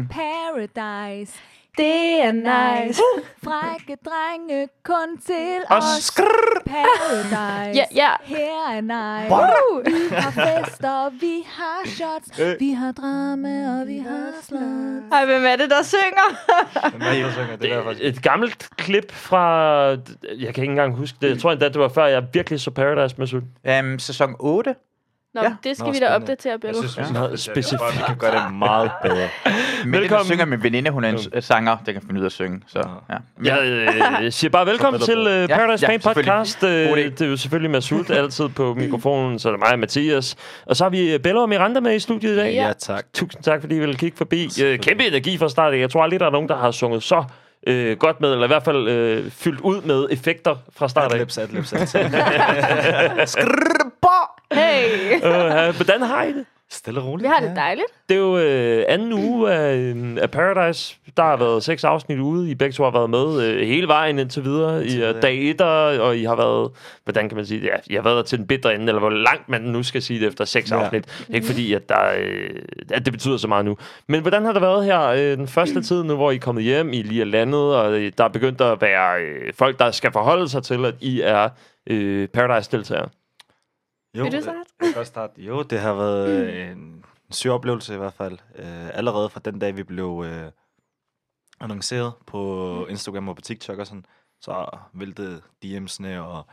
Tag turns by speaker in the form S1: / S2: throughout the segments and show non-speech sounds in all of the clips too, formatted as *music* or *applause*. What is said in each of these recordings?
S1: Mm.
S2: Paradise.
S3: Det er nice.
S2: Frække drenge kun til
S1: Og
S2: os.
S1: skrrr.
S2: Paradise.
S3: Ja, ja.
S2: Her er nice.
S3: Uh.
S1: Wow.
S2: Vi har fester, vi har shots,
S1: Øh.
S2: vi har drama og vi har slut.
S3: Ej, hvem er det, der synger?
S1: Hvad er I, der synger? Det er
S4: Et,
S1: faktisk...
S4: et gammelt klip fra... Jeg kan ikke engang huske det. Jeg tror endda, det var før, jeg virkelig så Paradise med Sult.
S1: Um, sæson 8.
S3: Nå,
S1: Ja.
S3: ja. det skal
S1: Nå,
S3: Nå, vi da
S1: spændende.
S3: opdatere, Bello.
S1: vi skal
S4: Meget specifikt.
S5: Vi kan gøre det meget bedre.
S1: Men der
S4: Velkommen.
S1: synger min veninde, hun er en s- sanger, der kan finde ud af at synge. Så, ja. Men,
S4: Jeg øh, jeg siger bare velkommen
S5: Så
S4: til
S5: er der
S4: øh,
S1: Ja,
S4: Paradise
S1: ja,
S4: Fan
S1: selvfølgelig.
S4: Podcast. Øh,
S1: God idé.
S4: det er jo selvfølgelig Masud altid
S1: *clears throat*
S4: på mikrofonen, så er det mig og Mathias. Og så har vi øh, Bella og Miranda med i studiet i dag.
S3: Ja.
S5: Ja, tak.
S4: Tusind tak, fordi I ville kigge forbi. Øh, kæmpe energi fra start. af. Jeg tror aldrig, der er nogen, der har sunget så øh, godt med, eller i hvert fald øh, fyldt ud med effekter fra start af.
S5: Adlibs, adlibs, *laughs* adlibs.
S3: Hey!
S4: Øh, hvordan har I det?
S5: Stille og roligt.
S3: Vi har det dejligt.
S4: Det er jo øh, anden uge af, øh, af Paradise. Der har været seks afsnit ude. I begge to har været med øh, hele vejen indtil videre. I er dag etter, og I har været... Hvordan kan man sige det? Ja, I har været der til den bedre ende, eller hvor langt man nu skal sige det efter seks
S5: Ja.
S4: ja. afsnit. Det er ikke fordi, at, der, øh, at det betyder så meget nu. Men hvordan har det været her øh, den første tid nu, hvor I er kommet hjem, I lige er landet, og øh, der er begyndt at være øh, folk, der skal forholde sig til, at I er øh, Paradise-deltagere?
S5: Jo,
S3: Vil du
S5: øh,
S3: starte? Mm.
S5: Jeg kan godt starte. Jo, det har været øh, en syg oplevelse i hvert fald. Øh, allerede fra den dag, vi blev øh, annonceret på
S3: Mm.
S5: Instagram og på TikTok og sådan, så væltede DM'sene, og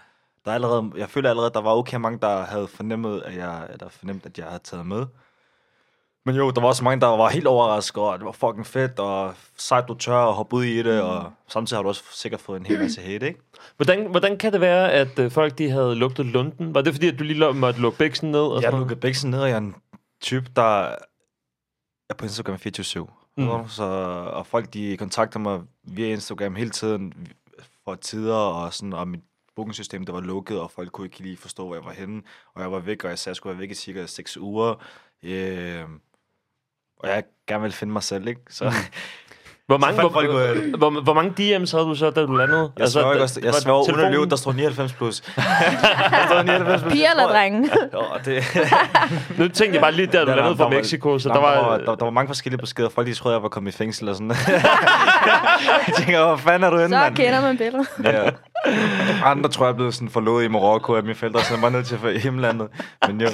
S5: der er allerede, jeg føler allerede, der var okay mange, der havde fornemmet, at jeg, der fornemt, at jeg havde taget med. Men jo, der var også mange, der var helt overrasket, og det var fucking fedt, og sejt, du tør at hoppe ud i det,
S3: Mm.
S5: og samtidig har du også sikkert fået en hel masse hate, ikke?
S4: Hvordan, hvordan kan det være, at øh, folk de havde lugtet lunden? Var det fordi, at du lige lo- måtte lukke bæksen ned? Og
S5: Jeg
S4: sådan noget?
S5: lukkede begge sådan ned, og jeg er en type, der er på Instagram 24-7. Mm. Så, og folk, de kontakter mig via Instagram hele tiden for tider, og, sådan, og mit bookingsystem, det var lukket, og folk kunne ikke lige forstå, hvor jeg var henne. Og jeg var væk, og jeg sagde, at jeg skulle være væk i cirka 6 uger. Øh, og jeg gerne ville finde mig selv, ikke?
S4: Mm.
S5: Så
S4: Hvor mange,
S5: Så
S4: hvor,
S5: fandt folk ud af
S4: hvor, hvor, hvor mange DM's havde du så, da du landede?
S5: jeg sværger ikke også, jeg
S4: Altså, var
S5: sværger uden at
S4: telefonen-
S5: løbe, der står 99
S4: *laughs*
S5: plus. der står 99 plus.
S3: Piger eller drenge?
S5: Åh, det,
S4: Nu tænkte jeg bare lige, der du
S5: Ja,
S4: landede
S5: der
S4: fra
S5: var-
S4: Mexico, så
S5: Nå,
S4: der var...
S5: der, der, var mange forskellige beskeder. Folk de troede, jeg var kommet i fængsel og sådan. *laughs* jeg tænker, hvor fanden er du henne,
S3: Så
S5: mand?
S3: kender man Bello.
S5: Ja. Andre tror jeg er blevet sådan forlovet i Marokko, at mine forældre sendte mig ned til for- hjemlandet. Men jo,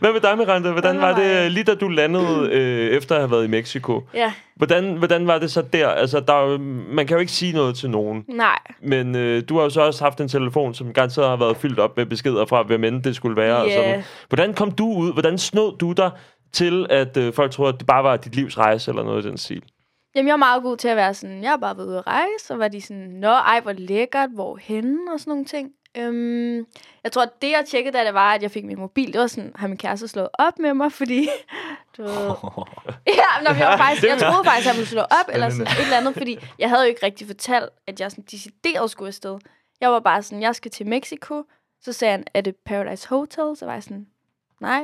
S4: Hvad med dig, Miranda? Hvordan
S3: Hvad
S4: var
S3: med
S4: det,
S3: mig?
S4: lige da du landede øh, efter at have været i Mexico?
S3: Ja,
S4: Hvordan, hvordan var det så der? Altså, der, er jo- man kan jo ikke sige noget til nogen.
S3: nej.
S4: Men øh, du har jo så også haft en telefon, som garanteret har været fyldt op med beskeder fra, hvem end det skulle være. Og
S3: Ja.
S4: sådan. Hvordan kom du ud? Hvordan snod du dig til, at øh, folk troede, at det bare var dit livs rejse eller noget i den stil?
S3: Jamen, jeg er meget god til at være sådan, jeg har bare været ude at rejse, og var de sådan, nå, ej, hvor lækkert, hvor henne, og sådan nogle ting. Øhm, jeg tror, det jeg tjekkede, da det var, at jeg fik min mobil, det var sådan, har min kæreste slået op med mig, fordi, du ved... ja, men jeg, var faktisk, jeg troede faktisk, at han ville slå op, eller sådan et eller andet, fordi jeg havde jo ikke rigtig fortalt, at jeg sådan decideret skulle afsted. Jeg var bare sådan, jeg skal til Mexico, så sagde han, er det Paradise Hotel? Så var jeg sådan, nej,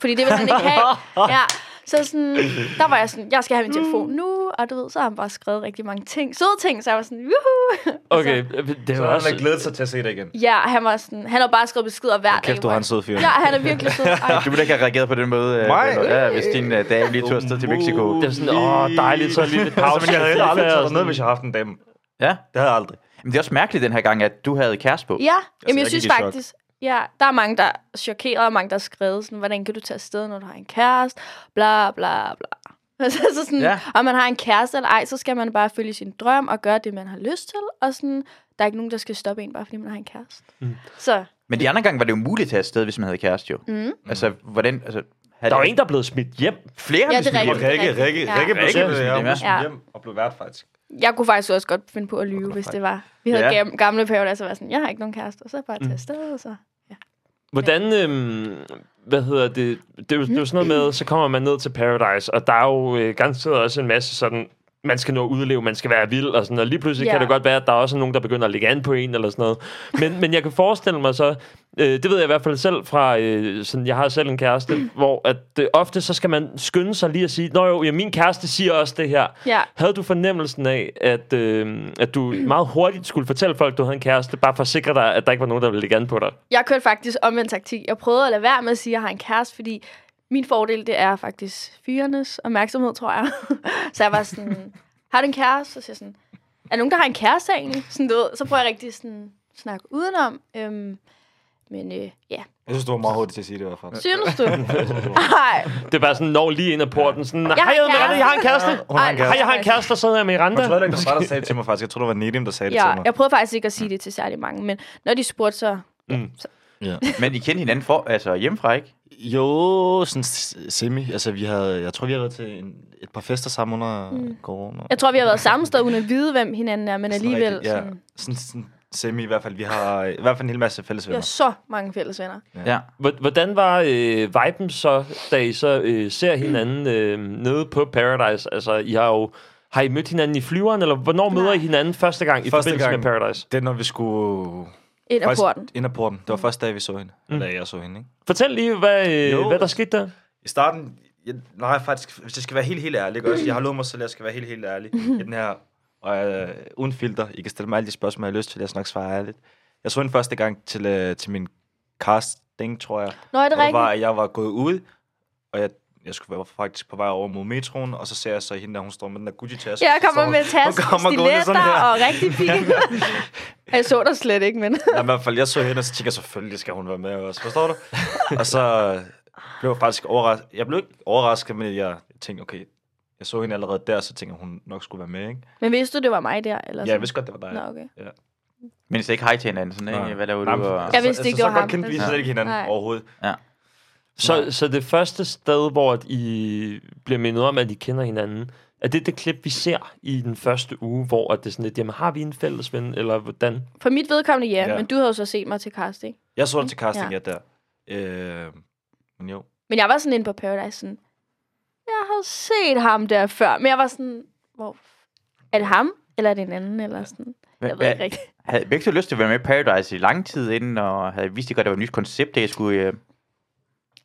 S3: fordi det ville han ikke have. Ja. Så sådan, der var jeg sådan, jeg skal have min telefon nu, og du ved, så har han bare skrevet rigtig mange ting. Søde ting, så jeg var sådan, juhu!
S4: Okay, det
S5: Altså, så
S4: var
S5: har
S4: også...
S5: han glædet sig til at se dig igen.
S3: Ja, han var sådan, han har bare skrevet beskeder hver dag.
S5: Kæft, du
S3: hvor
S5: har
S3: jeg-
S5: en sød fyr. Altså,
S3: Ja, han er virkelig
S5: *laughs*
S3: sød. Ej.
S1: Du ville ikke have reageret på den måde, øh,
S5: Nej. Uh.
S1: ja, hvis din øh, dame lige tog afsted til Mexico.
S4: Det er sådan, åh, dejligt, så lige lidt pause.
S5: *laughs* Altså, men jeg havde heller aldrig
S4: Og
S5: taget
S4: sådan-
S5: noget, hvis jeg havde haft en dame.
S1: Ja.
S5: Det havde jeg aldrig.
S1: Men det er også mærkeligt den her gang, at du havde kæreste på.
S3: Ja, jamen jeg
S5: jeg gik
S3: synes
S5: i chok.
S3: faktisk, ja, der er mange, der er chokeret, og mange, der har skrevet sådan, hvordan kan du tage afsted, når du har en kæreste, bla bla *laughs* bla. Altså så sådan,
S1: Ja.
S3: ja. om man har en kæreste eller ej, så skal man bare følge sin drøm og gøre det, man har lyst til, og sådan, der er ikke nogen, der skal stoppe en, bare fordi man har en kæreste. Mm. Så,
S1: Men de andre gange var det jo muligt at tage afsted, hvis man havde kæreste jo. Mm. Altså, hvordan... Altså, havde
S4: Der var
S1: det-
S4: en, der er blevet smidt hjem.
S1: flere,
S3: Ja,
S1: hvis
S3: det er
S1: vi-
S3: rigtigt.
S5: Og Rikke, Rikke,
S3: Ja.
S5: Rikke blev
S1: Rikke
S5: sendt
S1: blev sendt hjem,
S5: hjem,
S1: ja.
S5: blev sendt
S3: Ja.
S5: hjem og blev vært, faktisk.
S3: jeg kunne faktisk også godt finde på at lyve, hvis det var. Vi havde
S1: Ja.
S3: ja. gamle perioder, så var jeg sådan, jeg har ikke nogen kæreste, og så bare tage afsted, og så.
S4: Hvordan, øhm, hvad hedder det, det er, jo, det er jo sådan noget med, så kommer man ned til Paradise, og der er jo øh, garanteret også en masse sådan, man skal nå at udleve, man skal være vild, og sådan, og lige pludselig
S3: Ja.
S4: ja. kan det godt være, at der er også nogen, der begynder at lægge an på en, eller sådan noget. Men, men jeg kan forestille mig så, øh, det ved jeg i hvert fald selv fra, øh, sådan, jeg har selv en kæreste, hvor at, øh, ofte så skal man skynde sig lige at sige, nå jo, ja, min kæreste siger også det her.
S3: Ja.
S4: Havde du fornemmelsen af, at, øh, at du meget hurtigt skulle fortælle folk, du havde en kæreste, bare for at sikre dig, at der ikke var nogen, der ville lægge an på dig?
S3: Jeg kørte faktisk omvendt taktik. Jeg prøvede at lade være med at sige, at jeg har en kæreste, fordi Min fordel, det er faktisk fyrenes opmærksomhed, tror jeg. *laughs* så jeg var sådan, har du en kæreste? Så siger jeg sådan, er der nogen, der har en kæreste egentlig? Sådan, du ved, så prøver jeg rigtig sådan at snakke udenom. Øhm, men øh, ja,
S5: Jeg synes, du var meget hurtig til at sige det i hvert fald.
S3: synes du? Nej,
S4: Det er bare sådan, når lige ind ad porten, sådan, hej,
S3: har en
S4: jeg, Miranda, jeg har en kæreste.
S5: Hun har en
S3: Ej,
S4: Hej, jeg har en
S3: faktisk-
S4: kæreste, der sidder her med Miranda.
S5: Jeg tror heller ikke, det var mig, der sagde det til mig faktisk. Jeg tror, det var Nedim, der sagde det til
S3: Ja,
S5: mig.
S3: jeg prøvede faktisk ikke at sige det til særlig mange, men når de spurgte, så...
S1: Men I kendte hinanden for, altså hjemmefra, ikke?
S5: Jo, sådan s- semi. Altså, vi havde, jeg tror, vi har været til en, et par fester sammen under mm. corona.
S3: Jeg tror, vi har været samme sted, uden at vide, hvem hinanden er, men
S5: Sådan
S3: alligevel...
S5: rigtig- ja.
S3: Sådan,
S5: Sådan, sådan semi i hvert fald. Vi har i hvert fald en hel masse fælles
S3: vi har
S5: venner.
S3: så mange fælles venner.
S1: Ja.
S4: Hvor- Hvordan var øh, viben så, da I så øh, ser hinanden øh, nede på Paradise? Altså, I har jo... Har I mødt hinanden i flyveren, eller hvornår møder I hinanden første gang i
S5: Første
S4: forbindelse
S5: gang.
S4: med Paradise?
S5: Det er, når vi skulle...
S3: Et af porten.
S5: Ind af porten. Det var første dag, vi så hende. Mm. Eller jeg så hende, ikke?
S4: Fortæl lige, hvad, øh,
S5: Jo.
S4: hvad der skete der.
S5: I starten, jeg, nej faktisk, hvis jeg skal være helt, helt ærlig, ikke også? Jeg har lovet mig selv, at jeg skal være helt, helt
S3: *laughs*
S5: ærlig i den her, og øh, uden filter. I kan stille mig alle de spørgsmål, jeg har lyst til, jeg skal nok svare ærligt. Jeg så hende første gang til, øh, til min casting, tror jeg.
S3: Nå, er det
S5: Hvor det var,
S3: rigtigt?
S5: at jeg var gået ud, og jeg, jeg skulle være faktisk på vej over mod metroen, og så ser jeg så hende, der hun står med den der Gucci-taske.
S3: Jeg
S5: så står
S3: kommer
S5: hun-
S3: med tas,
S5: hun kommer gående sådan
S3: stiletter
S5: her.
S3: og rigtig
S5: *laughs*
S3: fine. jeg så dig slet ikke, men...
S5: Nej, i hvert fald, jeg så hende, og så tænkte jeg, selvfølgelig skal hun være med også. Forstår du? og så øh, blev jeg faktisk overrasket. Jeg blev ikke overrasket, men jeg tænkte, okay, jeg så hende allerede der, så tænkte jeg, hun nok skulle være med, ikke?
S3: Men vidste du, det var mig der? Eller
S5: Ja, jeg
S3: sådan?
S5: vidste godt, det var dig.
S3: Nå, okay.
S1: Men I sagde ikke hej til hinanden, sådan,
S5: Nej.
S1: ikke? Hvad laver
S5: Nej,
S1: du?
S5: men- altså,
S1: Og...
S3: Jeg vidste ikke, det var
S5: så
S3: ham.
S5: godt kendte vi
S3: Ja.
S5: slet ikke hinanden
S3: Nej.
S5: overhovedet.
S4: Så, så det første sted, hvor at I bliver mindet om, at I kender hinanden, er det det klip, vi ser i den første uge, hvor at det er sådan lidt, jamen har vi en fælles ven, eller hvordan?
S3: For mit vedkommende, ja,
S5: Ja.
S3: men du havde jo så set mig til casting.
S5: Jeg så det til casting,
S3: Ja.
S5: ja, der. Øh, men jo.
S3: Men jeg var sådan inde på Paradise, sådan... Jeg havde set ham der før, men jeg var sådan... Hvor... Er det ham? Eller er det en anden? Eller sådan... Jeg ved ikke
S1: Hvad-
S3: rigtigt.
S1: Havde I begge to lyst til at være med i Paradise i lang tid inden, og havde I vidst ikke godt, at det var et nyt koncept, det I skulle...
S3: *laughs*
S1: Øh...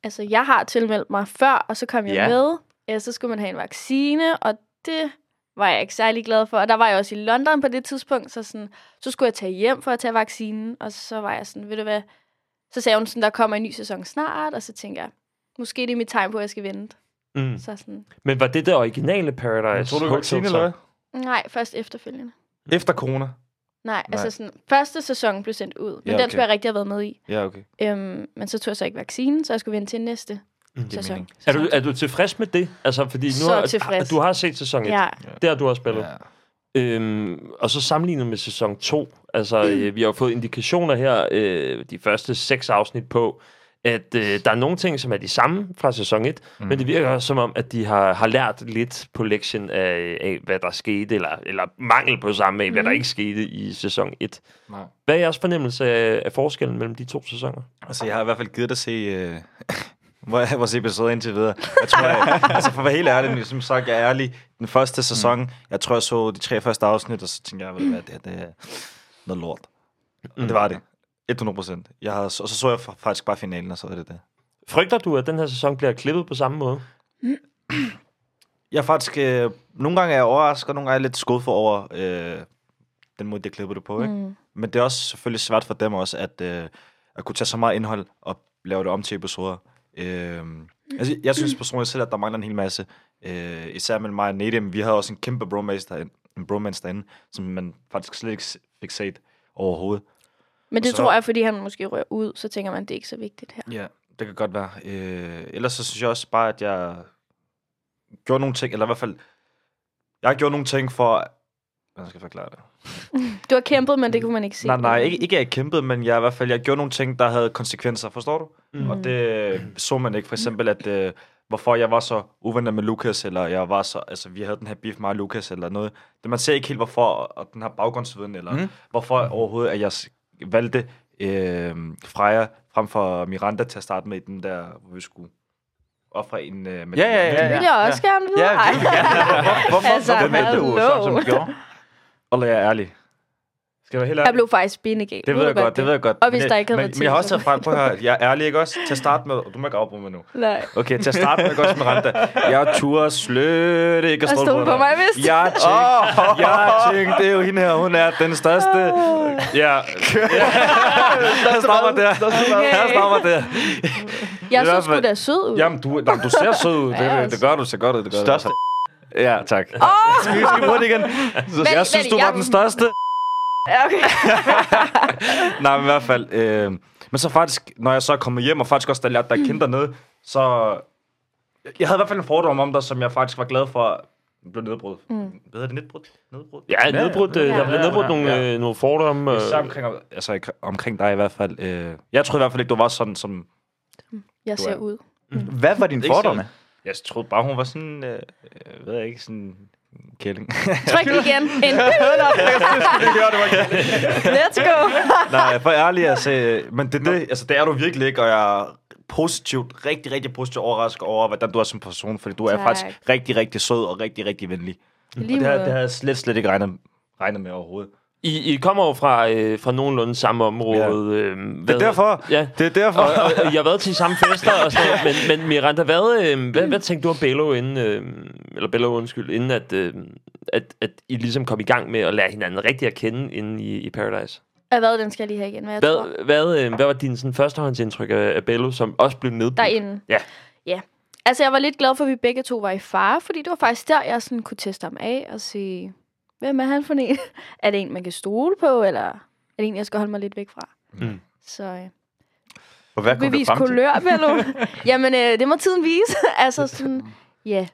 S3: altså, jeg har tilmeldt mig før, og så kom jeg
S1: Ja.
S3: med. Ja, så skulle man have en vaccine, og det var jeg ikke særlig glad for. Og der var jeg også i London på det tidspunkt, så, sådan, så skulle jeg tage hjem for at tage vaccinen, og så var jeg sådan, ved du hvad, så sagde hun sådan, der kommer en ny sæson snart, og så tænkte jeg, måske det er mit tegn på, at jeg skal vente.
S4: Mm.
S3: Så sådan,
S4: Men var det det originale Paradise?
S5: Tror du, det var
S4: Hotel
S5: vaccine,
S4: så?
S5: eller hvad?
S3: nej, først efterfølgende.
S5: Efter corona.
S3: Nej, nej. altså
S5: Nej.
S3: sådan, første sæson blev sendt ud, men
S5: Ja,
S3: ja, okay. den
S5: okay.
S3: skulle jeg rigtig have været med i.
S5: Ja, okay.
S3: Øhm, men så tog jeg så ikke vaccinen, så jeg skulle vente til næste
S4: Mm.
S5: er
S3: sæson.
S5: meningen.
S4: Er du, er du tilfreds med det? Altså, fordi nu
S3: Så
S4: har,
S3: tilfreds.
S4: du har set sæson 1.
S3: Ja,
S4: Det har du også spillet.
S5: Ja.
S4: Øhm, og så sammenlignet med sæson 2, altså
S3: Mm.
S4: øh, vi har jo fået indikationer her, øh, de første seks afsnit på, at øh, der er nogle ting, som er de samme fra sæson 1, mm. men det virker også som om, at de har, har lært lidt på lektien af, af, hvad der skete, eller, eller mangel på samme af, mm. hvad der ikke skete i sæson 1.
S5: Nej.
S4: Hvad er jeres fornemmelse af, af forskellen mellem de to sæsoner?
S5: Altså, jeg har i hvert fald givet dig se... Øh, *laughs* hvor- vores episode indtil videre. Jeg tror, jeg, *laughs* altså for at være helt ærlig, som sagt, jeg er ærlig. Den første sæson, mm. jeg tror, jeg så de tre første afsnit, og så tænkte jeg, ved du hvad, det, her, det er noget lort. Mm. Og det var det. 100 procent. Jeg har, og så så jeg fa- faktisk bare finalen, og så var det det.
S4: Frygter du, at den her sæson bliver klippet på samme måde?
S5: Jeg er faktisk... Øh, nogle gange er jeg overrasket, og nogle gange er jeg lidt skuffet over øh, den måde, de klippede det på. Ikke? Mm. Men det er også selvfølgelig svært for dem også, at, øh, at kunne tage så meget indhold og lave det om til episoder. Øh, altså, jeg synes personligt selv, at der mangler en hel masse. Øh, især mellem mig og Nedim. Vi havde også en kæmpe bromance derinde, en bromance derinde som man faktisk slet ikke s- fik set overhovedet.
S3: men det
S5: Så-
S3: så... tror jeg, fordi han måske rører ud, så tænker man, det er ikke så vigtigt her.
S5: Ja, det kan godt være. Øh, ellers så synes jeg også bare, at jeg gjorde nogle ting, eller i hvert fald, jeg gjorde nogle ting for... Hvordan skal jeg forklare det?
S3: Du har kæmpet, men det kunne man ikke se.
S5: Nej, nej, ikke, ikke at jeg kæmpede, men jeg i hvert fald jeg gjorde nogle ting, der havde konsekvenser, forstår du?
S4: Mm.
S5: Mm. Og det øh, så man ikke. For eksempel, at, øh, hvorfor jeg var så uvenner med Lukas, eller jeg var så, altså, vi havde den her beef med Lukas, eller noget. Det, man ser ikke helt, hvorfor, og- og den her baggrundsviden, eller
S1: Mm.
S5: mm. hvorfor overhovedet, at jeg s- valgte øh, Freja frem for Miranda til at starte med i den der, hvor vi skulle ofre en... Øh, med
S1: Ja, ja, ja,
S3: Vil
S1: ja.
S3: jeg også gerne vide?
S1: Ja,
S3: Ej.
S1: det vil jeg gerne. Hvorfor, hvorfor,
S3: Altså,
S1: altså, hvorfor valgte du
S3: hallo.
S1: sådan, som du gjorde?
S5: Og jeg er ærlig. Skal jeg være helt ærlig?
S3: Jeg blev faktisk benegal.
S5: Det ved jeg godt, det ved jeg godt.
S3: Og hvis
S5: Men-
S3: der ikke havde
S5: men,
S3: været
S5: Men jeg har også
S3: tid,
S5: taget
S3: så-
S5: frem på her. Jeg er ærlig, ikke også? Til at starte med... Du må ikke afbruge mig nu.
S3: Nej.
S5: Okay, til at starte med, ikke også, Miranda? Jeg turde slet ikke at
S3: Og
S5: stole
S3: stole på mig, vist.
S5: Jeg tænkte, oh. jeg tænkte, det er jo hende her, hun er den største.
S4: *laughs*
S5: Ja, ja. her stopper det. Her stopper det.
S3: Jeg
S4: i hvert
S3: synes sgu,
S4: fald-
S3: det er sød ud.
S4: Jamen, du, nej, du ser sød ud.
S3: Ja,
S4: Det, det gør du, ser godt ud. Det gør
S1: Største
S4: Du. Ja, tak.
S3: Åh!
S5: Skal vi skal bruge det igen?
S3: Vent,
S5: Jeg synes,
S3: vent,
S5: du var
S3: jeg-
S5: den største.
S3: Ja, okay.
S5: Nej, men i hvert fald. Øh, men så faktisk, når jeg så er kommet hjem, og faktisk også, da jeg lærte dig at kende dernede, så... Jeg havde i hvert fald en fordom om dig, som jeg faktisk var glad for blev nedbrudt. Mm. Hvad hedder det? Nedbrudt? Nedbrudt?
S4: Ja, nedbrudt, øh,
S5: ja,
S4: der blev
S5: ja,
S4: nedbrudt
S5: ja,
S4: nogle,
S5: ja.
S4: øh, nogle fordomme. Øh,
S5: Især omkring, altså, ik- omkring dig i hvert fald. Øh, jeg troede i hvert fald ikke, du var sådan, som...
S3: Jeg
S5: Du
S3: ser
S5: er-
S3: ud.
S1: Hvad var dine
S5: Ikke
S1: fordomme?
S5: Jeg troede bare, hun var sådan... Øh, øh, ved jeg ikke, sådan... en Kælling.
S4: *laughs*
S3: Tryk igen. En. Let's go.
S5: Nej, for ærlig, altså, øh, men det, er det, altså, det er du virkelig ikke, og jeg er positivt, rigtig, rigtig positivt overrasket over, hvordan du er som person, fordi du er
S3: Tak.
S5: faktisk rigtig, rigtig sød og rigtig, rigtig venlig.
S3: Lige
S5: Og det, havde,
S3: måde.
S5: det havde jeg slet, slet ikke regnet, regnet med overhovedet.
S4: I, I kommer jo fra, øh, fra nogenlunde samme område. Ja. Øh,
S5: Det er derfor.
S4: Ja.
S5: Det er derfor.
S4: Og, og, og jeg har været til samme fester og sådan noget, men, men Miranda, hvad, øh, hvad, hvad tænkte du om Bello, inden, øh, eller Bello, undskyld, inden at, øh, at, at I ligesom kom i gang med at lære hinanden rigtig at kende inde i, i Paradise?
S3: Ah, Hvad, den skal jeg lige have igen, hvad jeg tror.
S4: Hvad, hvad, øh, hvad var din sådan, førstehåndsindtryk af, af Bello, som også blev nedbrudt?
S3: Derinde.
S4: Ja.
S3: Ja. Altså, jeg var lidt glad for, at vi begge to var i fare, fordi det var faktisk der, jeg sådan kunne teste ham af og sige, hvem er han for en? *laughs* er det en, man kan stole på, eller er det en, jeg skal holde mig lidt væk fra?
S4: Mm.
S3: Så øh,
S1: Og hvad kom du
S3: bevis
S1: frem til?
S3: kulør, Bello. Jamen, øh, det må tiden vise. *laughs* altså sådan, ja.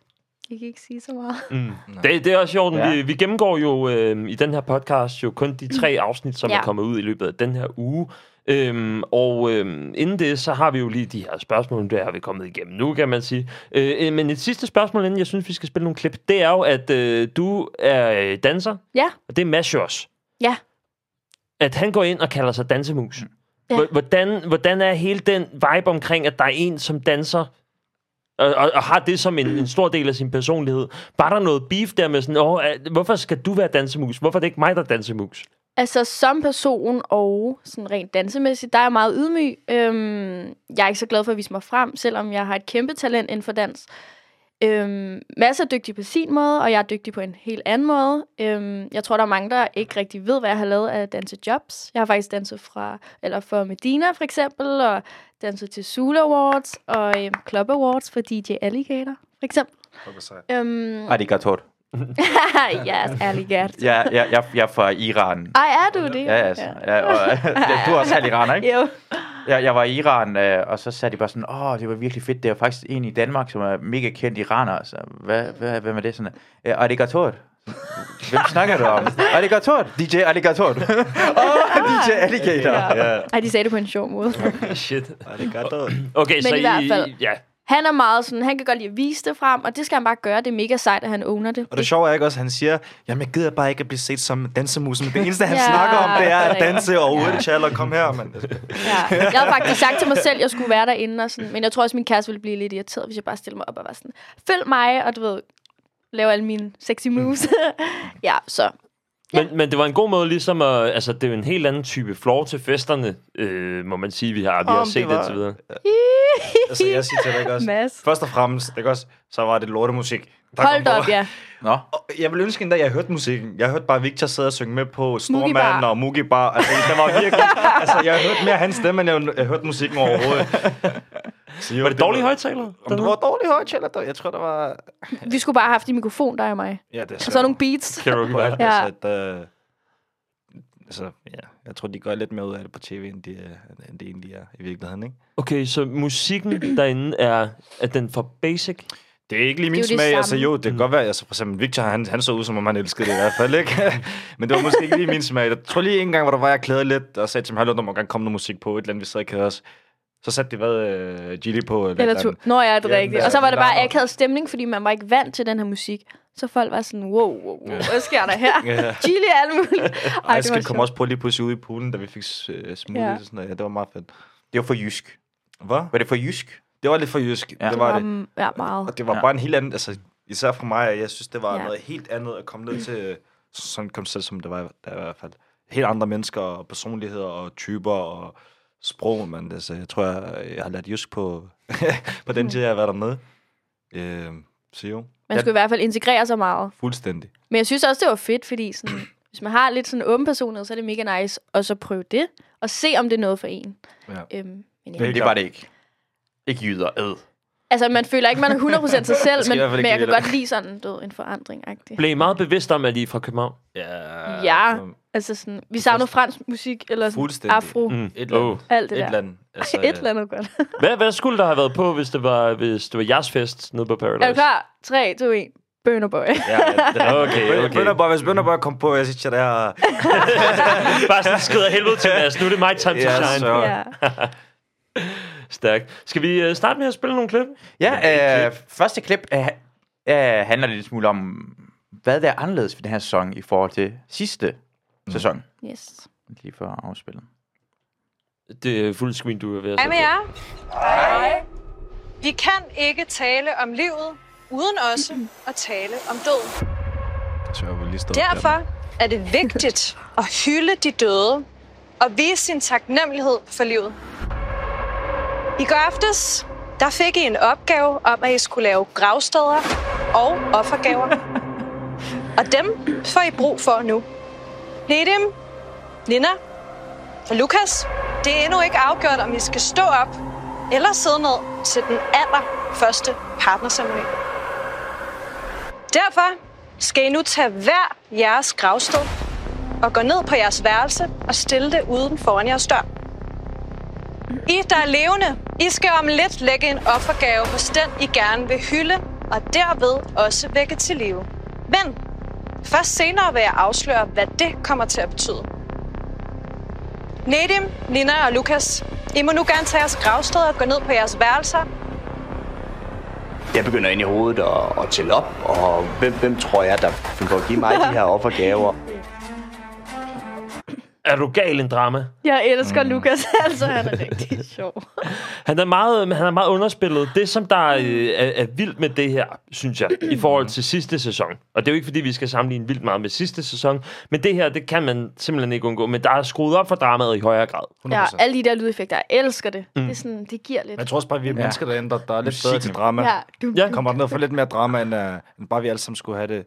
S3: Jeg kan ikke sige så meget.
S4: Mm. Det, det er også i orden. Ja.
S1: Ja.
S4: Vi, vi gennemgår jo øh, i den her podcast jo kun de tre afsnit, som ja.
S3: Ja.
S4: er kommet ud i løbet af den her uge. Øhm, og øhm, inden det, så har vi jo lige de her spørgsmål, der er vi kommet igennem nu, kan man sige. Øh, øh, men et sidste spørgsmål, inden jeg synes, vi skal spille nogle klip, det er jo, at øh, du er øh, danser,
S3: Ja.
S4: og det er Mads jo også.
S3: Ja.
S4: At han går ind og kalder sig dansemus.
S3: Ja.
S4: Ja. Hvordan, hvordan er hele den vibe omkring, at der er en, som danser, og, og, og har det som en, en stor del af sin personlighed. Var der noget beef der med sådan, Åh, er- hvorfor skal du være dansemus? Hvorfor er det ikke mig, der er dansemus?
S3: Altså, som person og sådan rent dansemæssigt, der er jeg meget ydmyg. Øhm, jeg er ikke så glad for at vise mig frem, selvom jeg har et kæmpe talent inden for dans. Øhm, masser er dygtig på sin måde, og jeg er dygtig på en helt anden måde. Øhm, jeg tror, der er mange, der ikke rigtig ved, hvad jeg har lavet af dansejobs. Jeg har faktisk danset fra, eller for Medina for eksempel, og danset til Zulu Awards og øhm, Club Awards for DJ Alligator for eksempel. Øhm, *laughs*
S1: Ej, det er godt hårdt.
S3: yes, Alligator.
S1: Ja, ja, jeg, jeg er fra Iran.
S3: Ej, er du det?
S1: Ah, Ja, altså. Ja, og, *laughs* du er også halv iraner, ikke?
S3: Jo.
S1: Jeg, jeg var i Iran, øh, og så sagde de bare sådan, åh, det var virkelig fedt. Det er faktisk en i Danmark, som er mega kendt iraner. Så, hvad, hvad, hvem er det sådan? "Øh, Alligator. *laughs* Hvem snakker du om? Alligator. DJ Alligator. *laughs* Åh, DJ Alligator.
S5: Ja.
S3: Ej, de sagde det på en sjov måde.
S4: Shit.
S5: Ej, det er godt, dog.
S4: Okay, Men så
S3: i hvert fald-
S4: Ja.
S3: Han er meget sådan, han kan godt lide at vise det frem, og det skal han bare gøre. Det er mega sejt, at han owner det.
S5: Og det sjove er ikke også, at han siger, jamen jeg gider bare ikke at blive set som dansemusen. Det eneste, han
S3: Ja,
S5: snakker om, det er
S3: det er
S5: at danse og ude tjal og kom
S3: *laughs*
S5: her, mand.
S3: Ja. Jeg har faktisk sagt til mig selv, at jeg skulle være derinde, og sådan, men jeg tror også, min kæreste ville blive lidt irriteret, hvis jeg bare stillede mig op og var sådan, følg mig, og du ved, lave alle mine
S5: Mm.
S3: sexy moves. *laughs* ja, så.
S4: Men, men det var en god måde ligesom at... Altså, det er jo en helt anden type floor til festerne, øh, må man sige, vi har, vi har
S5: Om
S4: set
S5: det
S4: det,
S5: var-
S4: indtil videre.
S5: Altså, jeg siger til dig ikke også.
S3: Mads.
S5: Først og fremmest, ikke også, så var det lortemusik. der kom
S3: Hold da
S5: på.
S3: op, ja.
S1: Nå,
S5: Og Jeg ville ønske endda, at jeg hørte musikken. Jeg hørte bare Victor sidde og synge med på
S3: Moogie
S5: Stormand
S3: Bar.
S5: og Moogie Bar. Altså, det var virkelig... altså, jeg hørte mere hans stemme, end jeg, jeg hørte musikken overhovedet. Så jo,
S4: Var det dårlige højtaler?
S5: Om det var dårlige højtaler, dog. jeg tror, der var...
S3: Vi skulle bare have haft en mikrofon, der og mig.
S5: Ja, det er
S3: Og så Altså, nogle beats.
S4: Karaoke
S5: på alt.
S4: bar.
S5: Ja. Altså, at, øh, altså, ja, jeg tror, de gør lidt mere ud af det på tv, end det end de egentlig er i virkeligheden, ikke?
S4: Okay, så musikken derinde er, er den for basic?
S5: Det er ikke
S3: Det er
S5: lige min
S3: jo det
S5: smag. Altså
S3: samme.
S5: jo, det kan godt være, altså for eksempel Victor, han, han så ud, som om han elskede det i hvert fald, ikke? *laughs* Men det var måske ikke lige min smag. Jeg tror lige en gang, hvor der var, jeg klædede lidt, og sagde til mig, hallo, der må gerne komme noget musik på, et eller andet, vi sad og kædede os. Så satte de, hvad, uh, Gilly på. Eller,
S3: Eller
S5: et
S3: to.
S5: andet.
S3: Nå, ja, det er
S5: Ja,
S3: rigtigt.
S5: men-
S3: Og så var det bare
S5: Larmer.
S3: akavet stemning, fordi man var ikke vant til den her musik. Så folk var sådan, wow, wow, wow hvad sker der her? *laughs*
S5: Ja.
S3: Chili og alt muligt.
S5: Ej,
S3: det
S5: jeg
S3: var
S5: skal
S3: sjovt.
S5: komme også på lige pludselig ude i poolen, da vi fik uh, smoothie
S3: Ja.
S5: ja. og sådan noget. Ja, det var meget fedt.
S1: det var for jysk.
S5: Hvad?
S1: Var det for jysk?
S5: Det var lidt for jysk.
S1: Ja.
S5: Ja. Det var det.
S3: Mm, Ja, meget.
S5: Og det var ja.
S1: Ja.
S5: bare en helt anden, altså især for mig, jeg synes, det var
S3: Ja. Mm.
S5: ja. noget helt andet at komme ned til sådan et koncept, som det var der i hvert fald. Helt andre mennesker og personligheder og typer og sprog, men altså, jeg tror, jeg, jeg har lært jysk på, *laughs* på
S3: Mm.
S5: den tid, jeg har været dernede. Øh, så jo,
S3: Man skulle i hvert fald integrere sig meget.
S5: fuldstændig.
S3: Men jeg synes også, det var fedt, fordi sådan, *clears throat* hvis man har lidt sådan en åben personlighed, så er det mega nice at så prøve det, og se, om det er noget for en.
S5: Ja.
S3: Øhm, men ja.
S5: Helt
S1: Men det
S5: klart.
S1: var det ikke. Ikke jyder, æd.
S3: Altså, man føler ikke, man er 100%
S5: *laughs*
S3: sig selv,
S5: skal i
S3: men,
S5: hvert fald ikke
S3: men jeg kan
S5: lide det.
S3: godt lide sådan du, ved, en forandring. -agtig.
S4: Blev I meget bevidst om, at I er fra København?
S5: Ja.
S3: Ja.
S5: som
S3: Altså sådan, vi savner fransk musik, eller sådan,
S5: Fuldstændig.
S3: afro, mm.
S4: Mm.
S5: Et eller andet.
S4: Åh.
S3: alt det
S5: Et
S3: der.
S5: eller andet. Altså,
S3: *laughs* Et eller andet godt.
S4: Hvad, hvad skulle der have været på, hvis det var, hvis det var jeres fest nede på Paradise?
S3: Er du klar? 3, 2, 1. Bønder boy.
S5: Ja, ja, det er
S4: Okay,
S5: Bø-
S4: okay.
S5: Bønderborg, hvis Bønderborg kom på, jeg synes, jeg der...
S4: Bare sådan skrider helvede til Mads. Nu er det my time to
S5: *laughs* Ja,
S4: shine.
S5: så-
S3: ja.
S4: Stærkt. Skal vi øh, starte med at spille nogle klip?
S1: Ja, øh, første klip øh, øh, handler lidt smule om, hvad der er anderledes ved den her sæson i forhold til sidste mm. sæson.
S3: Yes.
S1: Lige for at afspille.
S4: Det er fuld screen, du er ved at
S6: Hej med
S4: sætte
S6: jer. Vi kan ikke tale om livet, uden også at tale om døden.
S5: Så jeg vil lige stå
S6: Derfor er det vigtigt at hylde de døde og vise sin taknemmelighed for livet. I går aftes, der fik I en opgave om, at I skulle lave gravsteder og offergaver. Og dem får I brug for nu. Nedim, Nina og Lukas, det er endnu ikke afgjort, om I skal stå op eller sidde ned til den allerførste partnerceremoni. Derfor skal I nu tage hver jeres gravsted og gå ned på jeres værelse og stille det uden foran jeres dør. I, der er levende, I skal om lidt lægge en offergave hos den, I gerne vil hylde, og derved også vække til live. Men først senere vil jeg afsløre, hvad det kommer til at betyde. Nedim, Nina og Lukas, I må nu gerne tage jeres gravsted og gå ned på jeres værelser
S7: Jeg begynder ind i hovedet at, at tælle op, og hvem, hvem tror jeg, der får give mig de her offergaver?
S4: på. Er du gal en drama?
S3: Jeg elsker mm. Lukas, *laughs* altså han er rigtig sjov.
S4: Han er meget, men han er meget underspillet. Det, som der øh, er, er vildt med det her, synes jeg, i forhold til sidste sæson, og det er jo ikke, fordi vi skal sammenligne vildt meget med sidste sæson, men det her, det kan man simpelthen ikke undgå, men der er skruet op for dramaet i højere grad.
S3: Ja, alle de der lydeffekter, jeg elsker det. Mm. Det, er sådan, det giver lidt.
S5: Jeg tror også bare, at vi er mennesker derinde, der, der er lidt bedre til
S1: Musikken.
S5: drama.
S3: Ja, du,
S4: Ja.
S5: Kommer der ned for lidt mere drama, end, uh, end bare vi alle sammen skulle have det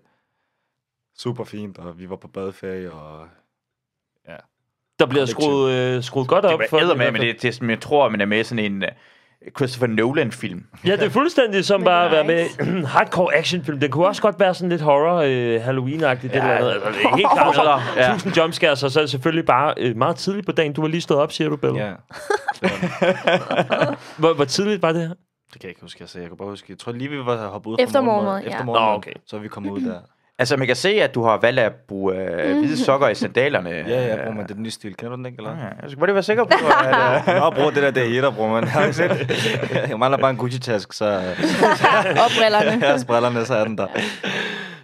S5: super fint, og vi var på badeferie, og
S4: Der bliver
S5: Kollektiv.
S4: skruet, øh, skruet godt op
S1: Det
S4: for
S1: var med,
S4: i hvert
S1: men
S4: fald.
S1: det, det er sådan, jeg tror, man er med i sådan en øh, Christopher Nolan-film.
S4: Ja, det er fuldstændig
S3: *laughs*
S4: som
S3: Men
S4: bare at være med
S3: nice.
S4: i en *clears throat* hardcore actionfilm. Den kunne også godt være sådan lidt horror, øh, Halloween-agtigt. Ja, det eller andet. Altså, det er helt klart, så
S1: Horror, ja.
S4: ja. tusind jumpscares, og så er det selvfølgelig bare øh, meget tidligt på dagen. Du har lige stået op, siger du, Bella. Ja.
S5: ja.
S4: *laughs* Hvor, hvor tidligt var det her?
S5: Det kan jeg ikke huske, jeg sagde. Jeg kan bare huske, jeg tror lige, vi var hoppet ud
S3: Efter
S5: fra
S3: morgenmad, ja.
S5: Efter
S4: Nå,
S5: morgenmad,
S4: okay.
S5: så er vi kommet ud der.
S1: Altså, man kan se, at du har valgt at bruge øh, hvide sokker i sandalerne.
S5: *clears throat* Ja, ja, bror, man, det er den nye stil. Kender du den ikke, eller?
S1: Ja, Jeg skal bare lige være sikker på,
S5: *laughs*
S1: at... Øh,
S5: Nå, bror, det der, det er hitter, bror, *laughs* man. Har du ikke set det? Jeg mangler bare en Gucci-task, så øh,
S3: og
S4: *laughs*
S3: brillerne.
S5: jeg brillerne, så er den der.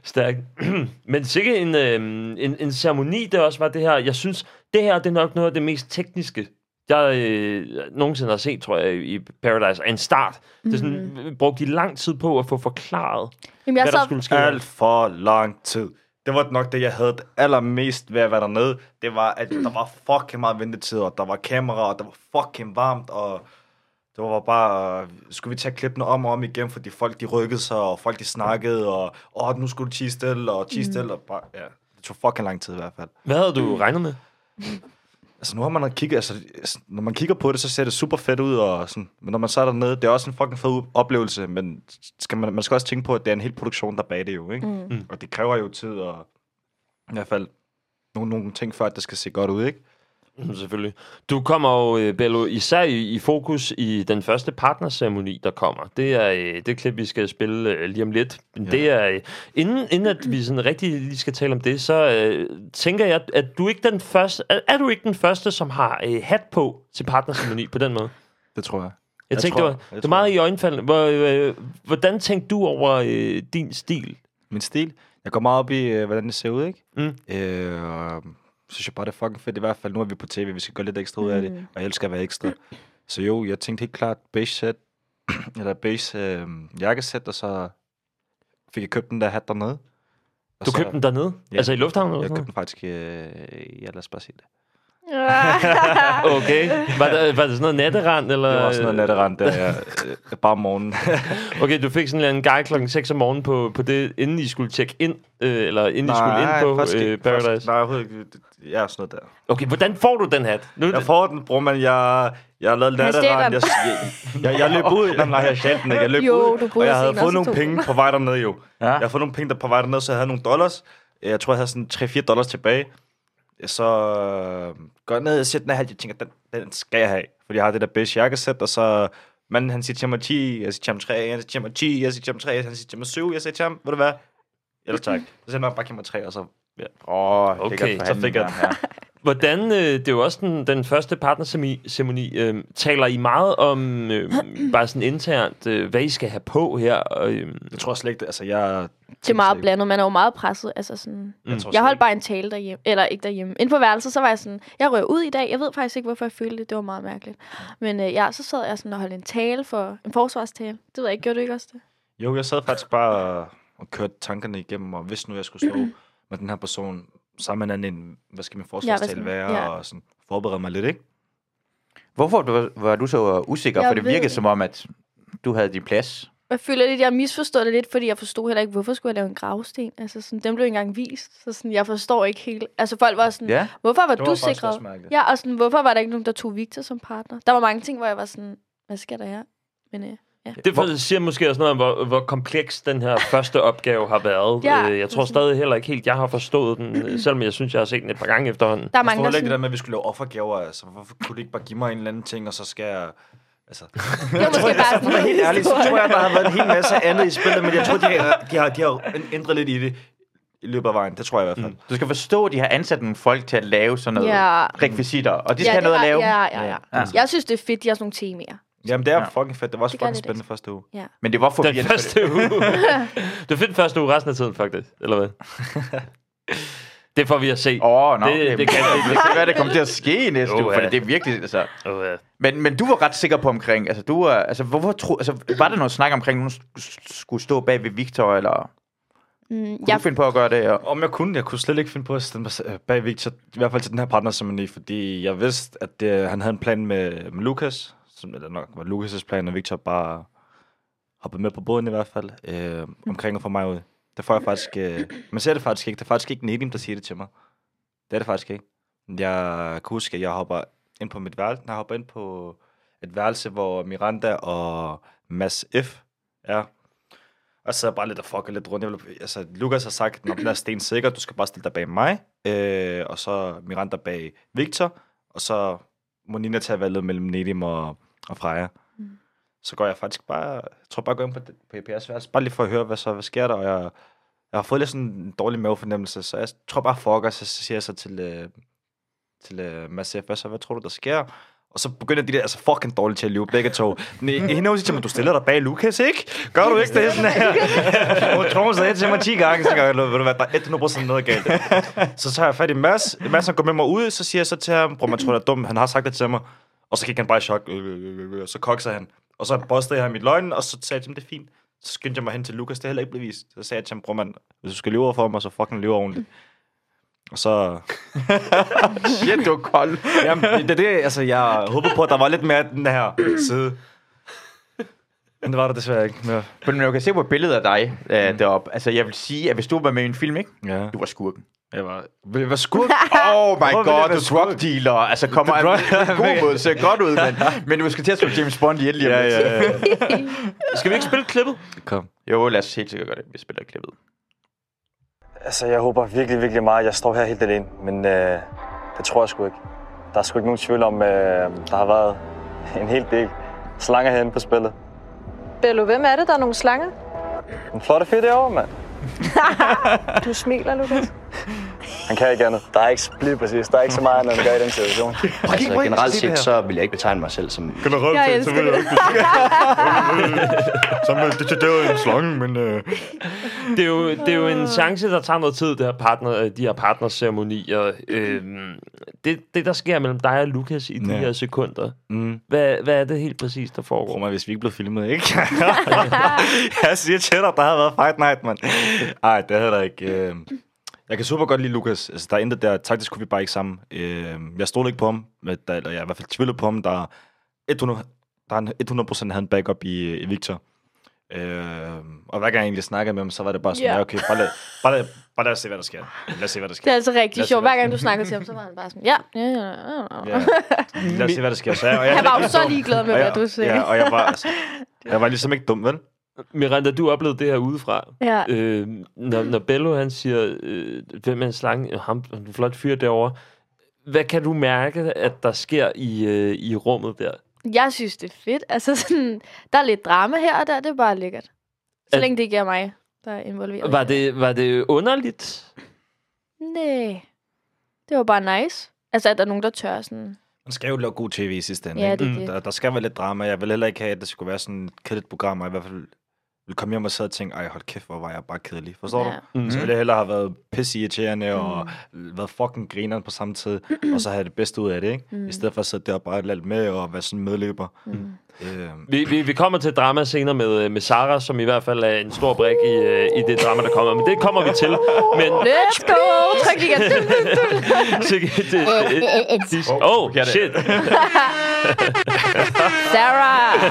S4: Stærk. *clears throat* Men sikke en, øh, en, en ceremoni, det også var det her. Jeg synes, det her det er nok noget af det mest tekniske, jeg øh, nogensinde har set, tror jeg, i Paradise. En start. Mm. Det er sådan, øh, brugte de lang tid på at få forklaret,
S3: Jamen, jeg
S4: hvad der
S3: sad,
S4: skulle ske.
S5: Alt for lang tid. Det var nok det, jeg havde allermest ved at være dernede. Det var, at der var fucking meget ventetid, og der var kamera, og der var fucking varmt, og det var bare, øh, skulle vi tage klippene om og om igen, fordi folk de rykkede sig, og folk de snakkede, og åh, nu skulle du cheese til, og cheese til, og bare, ja. Det tog fucking lang tid i hvert fald.
S4: Hvad havde du regnet med?
S5: Altså, nu har man kigget, altså, når man kigger på det, så ser det super fedt ud, og sådan, men når man så er dernede, det er også en fucking fed oplevelse, men skal man, man skal også tænke på, at det er en hel produktion, der er bag det jo, ikke? Mm. Og det kræver jo tid, og i hvert fald nogle, nogle ting før, at det skal se godt ud, ikke?
S4: Mm, *clears throat* Selvfølgelig. Du kommer jo, øh, Bello, især i, i fokus i den første partnerceremoni, der kommer. Det er øh, det klip, vi skal spille øh, lige om lidt. Men Det er, øh, inden, inden at vi sådan rigtig lige skal tale om det, så øh, tænker jeg, at du ikke den første, er, er du ikke den første, som har øh, hat på til partnerceremoni på den måde?
S5: Det tror jeg.
S4: Jeg,
S5: Jeg
S4: tænkte,
S5: tror-
S4: det var,
S5: jeg
S4: det var
S5: tror-
S4: meget i øjenfaldene. Hvor, øh, hvordan tænkte du over øh, din stil?
S5: Min stil, jeg går meget op i, øh, hvordan det ser ud, ikke?
S4: Mm.
S5: Øh, og synes jeg bare, det er fucking fedt. I hvert fald, nu er vi på tv, vi skal gøre lidt ekstra ud af
S4: Mm.
S5: det, og jeg elsker at være ekstra. Så jo, jeg tænkte helt klart beige sæt, *clears throat* eller beige øh, jakkesæt, og så fik jeg købt den der hat dernede. Og
S4: Du
S5: så-
S4: købte den dernede?
S5: Ja.
S4: Altså i lufthavnen? Eller
S5: Jeg
S4: sådan
S5: købte
S4: noget?
S5: den faktisk, øh, ja lad os bare sige det.
S4: Okay. Var det, var det sådan noget natterand? Eller?
S5: Det var også noget natterand,
S4: *laughs*
S5: der jeg, øh, bare om morgenen.
S4: Okay, du fik sådan en eller anden guy klokken 6 om morgenen på, på det, inden I skulle tjekke ind, øh, eller inden I skulle ind på
S5: faktisk
S4: øh,
S5: ikke.
S4: Paradise.
S5: Faktisk- Nej, overhovedet ikke. Det- det- Jeg er sådan noget der.
S4: Okay, hvordan får du den hat? Nu,
S5: Jeg får den, bror, men jeg, jeg har lavet
S3: Han stjæler
S5: natterand. Jeg,
S3: den.
S5: jeg, jeg, jeg løb
S3: *laughs*
S5: ud. Nej, nej, jeg stjal den ikke. Jeg løb
S3: Jo,
S5: ud,
S3: du
S5: og
S3: burde
S5: jeg havde
S3: se den
S5: fået
S3: også
S5: nogle
S3: to.
S5: penge på vej dernede, jo.
S1: Ja.
S5: Jeg havde fået nogle penge der på vej dernede, så jeg havde nogle dollars. Jeg tror, jeg havde sådan 3-4 dollars tilbage. Så øh, går jeg ned og siger den her, hat. jeg tænker, den, den skal jeg have. Fordi jeg har det der bedste jakkesæt, og så manden, han siger til mig 10, jeg siger til ham 3, han siger til mig 10, jeg siger til ham 3, han siger til mig 7, jeg siger til ham, ved du hvad? Ellers tak. Så siger han bare, giv mig 3, og så
S1: Åh, oh,
S4: Okay,
S1: okay,
S4: så
S5: fik jeg den.
S4: Hvordan, øh, det er jo også den, den første partnersemoni, øh, taler I meget om,
S5: *clears throat*
S4: øh, bare sådan internt, øh, hvad I skal have på her? Og, øh,
S5: Jeg tror slet ikke, det- altså jeg...
S3: Det er meget
S5: sikkert.
S3: blandet. Man er jo meget presset. Altså sådan,
S5: Jeg, tror
S3: jeg
S5: slet
S3: holdt bare en tale derhjemme. Eller ikke derhjemme. Inde på værelset, så var jeg sådan, jeg røg ud i dag. Jeg ved faktisk ikke, hvorfor jeg følte det. Det var meget mærkeligt. Men øh, ja, så sad jeg sådan og holdt en tale for en forsvarstale. Det ved jeg ikke. Gjorde du ikke også det?
S5: ikke. Jo, jeg sad faktisk bare og- og kørte tankerne igennem, og hvis nu jeg skulle stå med den her person sammen med en anden, hvad skal min forsvarstale
S3: Mm. skal-
S5: være,
S3: ja.
S5: og sådan forberede mig lidt, ikke?
S1: Hvorfor var- var du så usikker?
S3: Jeg
S1: for det
S3: ved
S1: virkede
S3: det.
S1: som om, at du havde din plads.
S3: Jeg føler lidt, jeg misforstod det lidt, fordi jeg forstod heller ikke, hvorfor skulle jeg lave en gravsten? Altså, sådan, den blev ikke engang vist, så sådan, jeg forstår ikke helt. Altså, folk var sådan,
S1: Ja.
S3: hvorfor var,
S5: Det
S3: du
S5: var faktisk også
S3: sikret?
S5: mærkeligt.
S3: Ja, og sådan, hvorfor var der ikke nogen, der tog Victor som partner? Der var mange ting, hvor jeg var sådan, hvad skal der her? Men øh,
S4: det for, siger måske også noget om, hvor, hvor kompleks den her første opgave har været.
S3: Ja,
S4: øh, jeg tror
S3: præcis.
S4: stadig heller ikke helt, jeg har forstået den,
S5: *clears throat*
S4: øh, selvom jeg synes, jeg har set den et par gange efterhånden.
S3: der er
S5: Jeg
S3: mange,
S5: forstår
S3: der
S5: heller ikke det der
S3: sådan,
S5: med, at vi skulle lave offergaver, altså hvorfor kunne du ikke bare give mig en eller anden ting, og så skal jeg... Altså,
S3: det var måske
S1: Altså,
S3: bare sådan
S5: helt
S3: en
S5: ærligt, så
S3: historie.
S5: tror jeg, der har været en hel masse andet i spillet, men jeg tror, de har, de har, de har ændret lidt i det i løbet af vejen. Det tror jeg i hvert fald. Mm.
S1: Du skal forstå, at de har ansat nogle folk til at lave sådan noget
S3: Ja.
S1: rekvisitter, og de skal
S3: Ja,
S1: have
S3: det
S1: noget
S3: var,
S1: at lave.
S3: ja, ja, ja,
S1: Ja.
S3: ja. Jeg synes, det er fedt, de har sådan nogle temaer.
S5: Jamen, det er
S1: Ja.
S5: fucking fedt. Det var også
S3: Det gør
S5: fucking
S3: lidt
S5: spændende første uge.
S1: Men det var forvirrende.
S4: Den
S1: for det-
S4: første uge. *laughs* det er fedt første uge resten af tiden, faktisk. Eller *laughs* hvad? Det får vi at se.
S1: Åh, oh, no,
S4: Det- det kan- det-
S1: det kan være, det kommer til at ske i næste
S4: Jo,
S1: uge,
S4: ja.
S1: for det er virkelig... Altså.
S4: Oh, ja.
S1: Men, men du var ret sikker på omkring, altså, du, er- altså, hvorfor tro, altså var der noget snak omkring, at nogen sk- skulle stå bag ved Victor, eller kunne
S3: Mm,
S1: ja.
S3: jeg
S1: du finde på at gøre det? Og,
S5: Om jeg kunne, jeg kunne slet ikke finde på at stille mig se- bag Victor, i hvert fald til den her partner som i, fordi jeg vidste, at det, han havde en plan med, med Lukas, som eller nok var Lukas' plan, og Victor bare hoppede med på båden i hvert fald, øh, omkring og få mig ud. Det får jeg faktisk, øh, man ser det faktisk ikke, det er faktisk ikke Nedim, der siger det til mig. Det er det faktisk ikke. Jeg kan huske, at jeg hopper ind på mit værelse, jeg hopper ind på et værelse, hvor Miranda og Mads F. er, og så sad jeg bare lidt og fucker lidt rundt. Jeg ville, altså, Lukas har sagt, at den er sten sikker, du skal bare stille dig bag mig. Øh, og så Miranda bag Victor. Og så må Nina tage valget mellem Nedim og, og Freja.
S3: Mm.
S5: Så går jeg faktisk bare, jeg tror bare, jeg går ind på, det- på EPS værelse, bare lige for at høre, hvad så, hvad sker der. Og jeg, jeg har fået lidt sådan en dårlig mavefornemmelse, så jeg tror bare, fucker, så siger jeg så til, øh, til øh, Mads F, hvad så, hvad tror du, der sker? Og så begynder de der, altså fucking dårligt til at lyve, begge to. Nej, hende hun siger til mig, du stiller dig bag Lukas, ikke? Gør du ikke det sådan her? Hun tror, hun sagde til mig 10 gange, så tænker jeg, ved du hvad, der er 100% noget galt. Så tager jeg fat i Mads. Mads, han går med mig ud, så siger jeg så til ham, bror, man tror, jeg er dum, han har sagt det til mig. Og så gik han bare i chok, Øh, øh, øh, øh, og så kokser han. Og så bostede jeg ham i løgnen, og så sagde jeg til ham, det er fint. Så skyndte jeg mig hen til Lukas, det er heller ikke blevet vist. Så sagde jeg til ham, bror, mand, hvis du skal løbe over for mig, så fucking løbe ordentligt. Og så
S1: shit, du er kold.
S5: Jamen, det er det, altså, jeg håber på, at der var lidt mere af den her side. Men det var der desværre ikke mere.
S1: Men jeg kan se på billedet af dig øh, deroppe. Altså, jeg vil sige, at hvis du var med i en film, ikke?
S5: Ja.
S1: Du var skurken.
S5: Jeg var... Vil jeg være skurk?
S1: *laughs* Oh
S5: Hvorfor
S1: my
S5: ville jeg
S1: god,
S5: være
S1: du drug dealer. Altså, kommer
S5: The
S1: en
S5: drug-
S1: en *laughs* god måde, ser godt ud, *laughs* men, men du skal til at slå James Bond ihjel lige om
S5: ja,
S1: lidt.
S5: ja, ja.
S4: Skal vi ikke spille klippet?
S5: Kom.
S1: *laughs* Jo, lad os helt sikkert gøre det. Vi spiller klippet.
S8: *laughs* Altså, jeg håber virkelig, virkelig meget, at jeg står her helt alene, men øh, det tror jeg sgu ikke. Der er sgu ikke nogen tvivl om, øh, der har været *laughs* en hel del slanger herinde på spillet.
S6: Bello, hvem er det, der er nogle slanger?
S8: En flotte fyr derovre, mand.
S6: Du smiler, Lukas.
S8: Han kan ikke andet. Der er ikke, lige præcis, der er ikke så meget andet, at gøre i den situation.
S7: Altså, generelt set, så vil jeg ikke betegne mig selv som...
S5: Generelt
S3: Jeg elsker det.
S5: *laughs* som det, det var en slange, men... Øh.
S4: det, er jo, det er jo en chance, der tager noget tid, det her partner, øh, de her partnerceremonier. Øhm, det, det, der sker mellem dig og Lukas i de
S5: Ja.
S4: her sekunder,
S5: Mm.
S4: hvad, hvad er det helt præcis, der
S5: Bror,
S4: foregår?
S5: man, hvis vi ikke blev filmet, ikke? *laughs* jeg siger til dig, der har været fight night, mand. Ej, det havde der ikke. Øh. Jeg Jeg kan super godt lide Lukas. Altså, der er intet der. Taktisk kunne vi bare ikke sammen. Øh, jeg stolede ikke på ham, men der, eller jeg er i hvert fald tvivlet på ham. Der er 100, der er en- 100% havde en backup i, i Victor. Øh, og hver gang jeg egentlig snakkede med ham, så var det bare sådan,
S3: Ja.
S5: yeah. ja, okay, bare lad, bare, lad, bare lad os se, hvad der sker. Lad os se, hvad der
S3: Det
S5: sker.
S3: er altså
S5: Lad
S3: rigtig
S5: os
S3: sjovt.
S5: se, hvad
S3: Hver gang du snakker til ham, så var han bare sådan, ja, ja, ja, ja, ja.
S5: Ja. Lad os se, hvad der sker. Så jeg, og jeg,
S3: Han var jo så ligeglad med,
S5: og
S3: hvad
S5: jeg,
S3: du sagde.
S5: Ja, og jeg var,
S3: *laughs*
S5: altså, jeg var ligesom ikke dum, vel?
S4: Miranda, du oplevede det her udefra.
S3: Ja.
S4: Øh, når, når Bello han siger, øh, hvem er en slange? Øh, Ham, en flot fyr derovre. Hvad kan du mærke, at der sker i, øh, i rummet der?
S3: Jeg synes, det er fedt. Altså, sådan, der er lidt drama her og der, det er bare lækkert. Så
S4: At-
S3: længe det ikke er mig, der er involveret.
S4: Var det, var det underligt?
S3: Nej. Det var bare nice. Altså, at der er nogen, der tør sådan...
S5: Man skal jo lave god tv i sidste ende.
S3: Ja,
S5: ikke?
S3: det er det.
S5: Der, der skal være lidt drama. Jeg vil heller ikke have, at det skulle være sådan et kedeligt program, og i hvert fald vil komme hjem og sidde og tænke, ej, hold kæft, hvor var jeg bare kedelig. Forstår
S3: Ja. Mhm.
S5: ja. du? Så ville jeg hellere have været pissirriterende mm. og været fucking grineren på samme tid, og så have det bedste ud af det, ikke?
S3: Mhm.
S5: Mm. I stedet for at sidde der og bare lade det med og være sådan medløber. Mm. Øhm,
S4: Vi, vi, vi kommer til drama senere med, øh, med Sara, som i hvert fald er en stor brik i, øh, i det drama, der kommer. Men det kommer vi til. Men
S3: Let's go! Tryk lige igen. Dum, dum, dum.
S4: til, til, til, til, oh, shit.
S3: Sarah!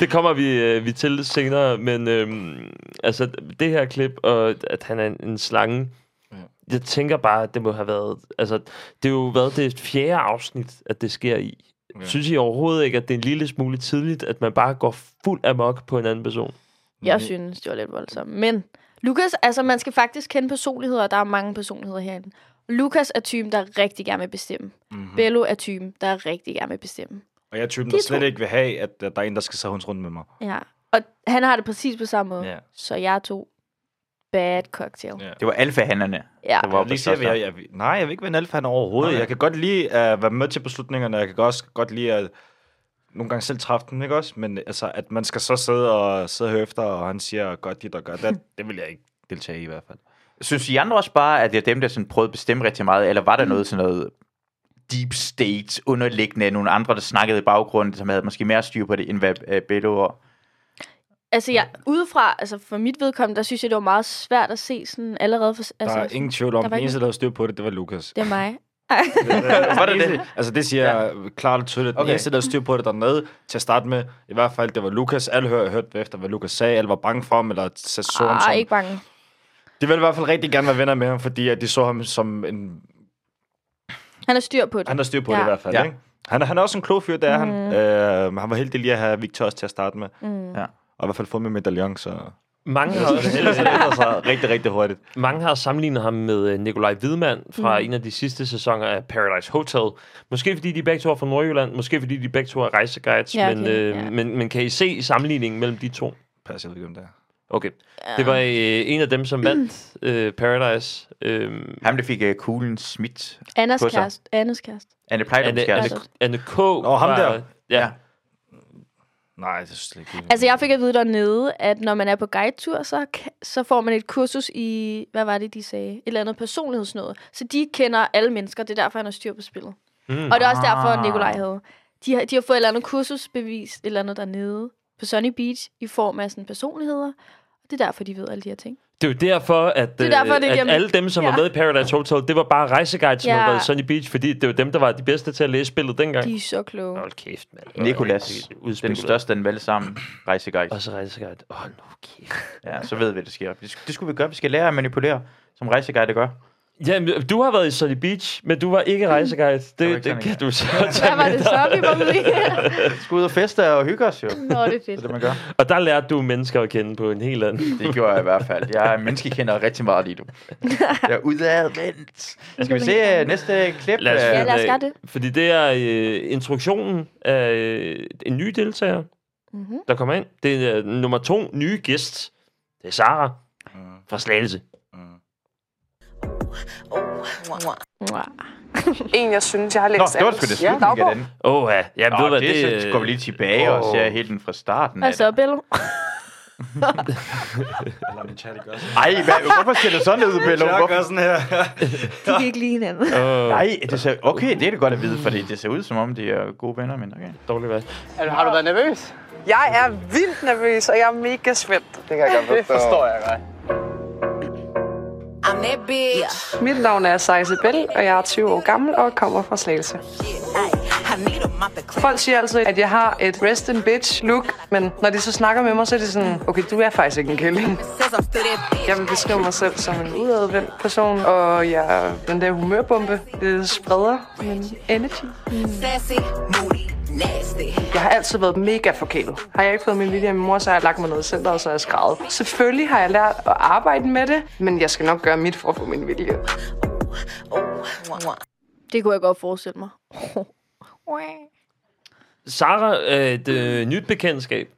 S4: Det kommer vi, øh, vi til senere. Men øhm, altså, det her klip, og at han er en, en slange, jeg tænker bare, at det må have været... Altså, det har jo været det fjerde afsnit, at det sker i. Synes I overhovedet ikke, at det er en lille smule tidligt, at man bare går fuld amok på en anden person?
S3: Jeg synes, det var lidt voldsomt. Men Lukas, altså man skal faktisk kende personligheder, og der er mange personligheder herinde. Lukas er typen, der rigtig gerne vil bestemme.
S5: Mm.
S3: Mm-hmm. Bello er typen, der rigtig gerne vil bestemme.
S5: mhm. og jeg er typen, der
S3: De
S5: slet
S3: to-
S5: ikke vil have, at at der er en, der skal sidde rundt med mig.
S3: Ja. Og han har det præcis på samme måde.
S5: Ja.
S3: Så jeg tog bad cocktail.
S5: Ja.
S1: Det var alfahannerne.
S3: Ja.
S1: der
S5: Jeg
S1: var oppe
S5: vil
S1: at
S5: ikke sige, at
S1: slås der.
S5: jeg, jeg, vil- nej, jeg vil ikke være en alfahan overhovedet.
S1: Nej.
S5: Jeg kan godt lide at være med til beslutningerne. Jeg kan også godt lide at nogle gange selv træffe dem, ikke også? Men altså, at man skal så sidde og, sidde og høre efter, og han siger, godt dit og gør *laughs* det, det vil jeg ikke deltage i i hvert fald.
S1: Synes I andre også bare, at det er dem, der sådan prøvede at bestemme rigtig meget, eller var der noget sådan noget deep state underliggende, nogle andre, der snakkede i baggrunden, som havde måske mere styr på det, end hvad øh, Bello og...
S3: Altså, jeg, udefra, altså for mit vedkommende, der synes jeg, det var meget svært at se sådan allerede. For,
S5: Der
S3: altså,
S5: er ingen tvivl
S3: der
S5: om, den
S3: var ikke-
S5: eneste, der havde styr på det, det var Lukas.
S3: Det er mig.
S1: Var det det?
S5: Altså, det siger jeg klart og tydeligt. Okay. Den
S1: Okay.
S5: eneste, der havde styr på det dernede, til at starte med, i hvert fald, det var Lukas. Alle hør, hørte efter, hvad Lukas sagde. Alle var bange for ham, eller så så ham
S3: Ah,
S5: som
S3: ikke bange.
S5: De ville i hvert fald rigtig gerne være venner med ham, fordi at de så ham som en
S3: Han er styr på det.
S5: Han har styr på
S3: Ja.
S5: ja. det i hvert fald,
S1: Ja.
S5: ja. ikke? Han, er- han er også en klog fyr, det er mm. han. Øh, han var heldig lige at have Victor også til at starte med.
S3: Mm.
S1: Ja.
S5: Og i hvert fald fået med
S3: *laughs*
S5: medaljon, så
S4: Mange har,
S5: det ændrer sig rigtig, rigtig hurtigt.
S4: Mange har sammenlignet ham med øh, Nikolaj Hvidmand fra
S3: Mhm.
S4: mm. en af de sidste sæsoner af Paradise Hotel. Måske fordi de begge to er fra Nordjylland, måske fordi de begge to er rejseguides,
S3: Ja,
S4: ja,
S3: okay,
S4: okay, men, øh,
S3: ja.
S4: ja. men, men kan I se sammenligningen mellem de to?
S5: Pas, jeg ved ikke, om det er.
S4: Okay. Det var øh, en af dem, som vandt
S3: Mm.
S4: øh, Paradise. Øh,
S1: Ham, der fik øh, kuglen smidt.
S3: Annas
S1: på sig.
S3: kæreste. Annas kæreste.
S1: Anne Plejdums
S4: Anne, Anne,
S1: kæreste.
S3: Altså.
S4: Anne K. Nå,
S5: ham der.
S4: Ja.
S5: Nej, det synes jeg ikke. det er.
S3: Altså, jeg fik at vide dernede, at når man er på guidetur, så, ka- så får man et kursus i, hvad var det, de sagde? Et eller andet personlighedsnød. Så de kender alle mennesker. Det er derfor, han har styr på spillet.
S4: Mm.
S3: Og det er også derfor,
S1: Ah.
S3: Nikolaj havde. De har, de har fået et eller andet kursusbevis, et eller andet dernede på Sunny Beach, i form af sådan personligheder. Det er derfor, de ved alle de her ting.
S4: Det er jo derfor, at,
S3: Det er derfor, det
S4: øh,
S3: giver
S4: at
S3: mening.
S4: alle dem, som
S3: Ja.
S4: var med i Paradise Hotel, det var bare rejseguides, som
S3: Ja.
S4: havde været i Sunny Beach, fordi det var dem, der var de bedste til at læse spillet dengang.
S3: De er så kloge.
S4: Hold kæft, mand.
S1: Nikolas, den
S4: Udspekuleret.
S1: største af dem alle sammen, rejseguide.
S4: Og så rejseguide. Åh, oh, nu kæft.
S1: Ja, så ved vi, hvad der sker. Det, sk- det skulle vi gøre. Vi skal lære at manipulere, som rejseguide gør.
S4: Jamen, du har været i Sunny Beach, men du var ikke rejseguide. Det,
S1: var
S4: det,
S1: ikke sådan
S4: kan
S1: en.
S4: du så
S3: Hvad
S4: tage
S3: var
S4: med
S3: det
S4: dig.
S3: så, vi var ude i?
S1: Vi skal ud og feste og hygge os jo. Det
S3: Nå, det er
S1: er
S3: fedt.
S1: det, man gør.
S4: Og der lærte du mennesker at kende på en helt anden.
S1: Det gjorde jeg i hvert fald. Jeg er menneskekender rigtig meget lige nu. Jeg er udadvendt. Skal vi se øh, næste klip?
S4: Lad os,
S1: Øh,
S4: finde
S3: Ja, lad os
S4: af-
S3: gøre det.
S4: Fordi det er øh, introduktionen af øh, en ny deltager,
S3: Mhm.
S4: mm-hmm. der kommer ind. Det er øh, nummer to nye gæst. Det er Sara
S1: Mm.
S4: fra Slagelse.
S6: En, jeg synes, jeg har
S1: Nå,
S6: læst
S1: det var sgu det slutning af den.
S4: Åh ja, jeg
S1: Nå,
S4: ved, hvad
S1: det,
S4: det, øh,
S1: det, så går vi lige tilbage oh. og ser helt den fra starten. af
S3: Hvad så,
S1: det.
S3: Bello?
S5: Eller min chat ikke også.
S1: Ej, hvad, hvorfor ser det sådan ud, Bello?
S5: Jeg
S1: Hvorfor?
S5: gør sådan her. *laughs*
S3: De kan ikke lide hinanden.
S4: Øh,
S1: Nej, det ser, okay, det er det godt at vide, fordi det ser ud som om, de er gode venner, men okay.
S4: dårligt valg.
S9: Har du været nervøs?
S6: Jeg er vildt nervøs, og jeg er mega spændt.
S9: Det kan jeg godt forstå. Det forstår jeg godt.
S10: I'm
S9: Mit navn er Sejse Bell, og jeg er 20 år gammel og kommer fra Slagelse. Folk siger altid, at jeg har et rest in bitch look, men når de så snakker med mig, så er det sådan, okay, du er faktisk ikke en kælling. Jeg vil beskrive mig selv som en udadvendt person, og jeg er den der humørbombe, det spreder min energy. Jeg har altid været mega forkælet. Har jeg ikke fået min vilje af min mor, så har jeg lagt mig ned i centret, og så har jeg skrevet. Selvfølgelig har jeg lært at arbejde med det, men jeg skal nok gøre mit for at få min vilje.
S3: Det kunne jeg godt forestille mig.
S4: Sara er et øh, nyt bekendtskab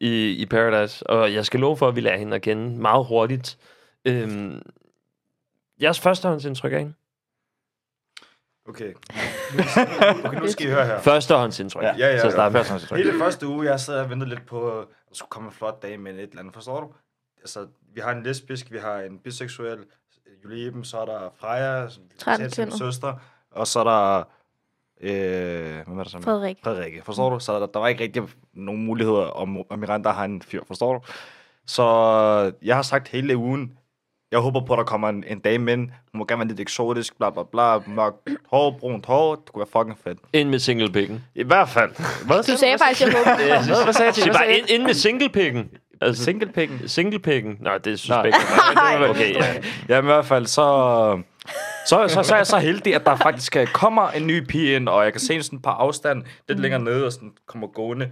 S4: i, i Paradise, og jeg skal love for, at vi lærer hende at kende meget hurtigt. Øhm, jeres førstehåndsindtryk af hende?
S5: Okay. okay, nu skal I høre *laughs* her.
S4: Førstehåndsindtryk.
S5: Ja, ja, ja.
S4: Så starter
S5: Hele det første uge, jeg sad og ventede lidt på, at der skulle komme en flot dag med et eller andet, forstår du? Altså, vi har en lesbisk, vi har en biseksuel, Julie Eben, så er der Freja, som
S3: Transkønnet.
S5: som søster, og så er der... Øh, hvem er der sammen?
S3: Frederik.
S5: Frederikke, forstår du? Så der, der var ikke rigtig nogen muligheder, om, om Miranda har en fyr, forstår du? Så jeg har sagt hele ugen, jeg håber på, at der kommer en, en dame ind. Hun må gerne være lidt eksotisk, bla bla bla. Mørkt hår, brunt hår. Det kunne være fucking fedt.
S4: Ind med singlepikken.
S5: I hvert fald. Hvad
S3: Du sagde faktisk, jeg håber det.
S5: Hvad, hvad sagde jeg til?
S4: Det er
S5: Hvad sagde
S4: bare
S5: jeg?
S4: ind, ind med singlepikken. Altså,
S5: Singlepikken?
S4: singlepikken. Nej, det er
S5: *laughs*
S4: suspekt. Okay, ja.
S5: Jamen i hvert fald, så... Så, så, så er jeg så heldig, at der faktisk øh, kommer en ny pige ind, og jeg kan se hende sådan på afstand, lidt længere nede, og sådan kommer gående.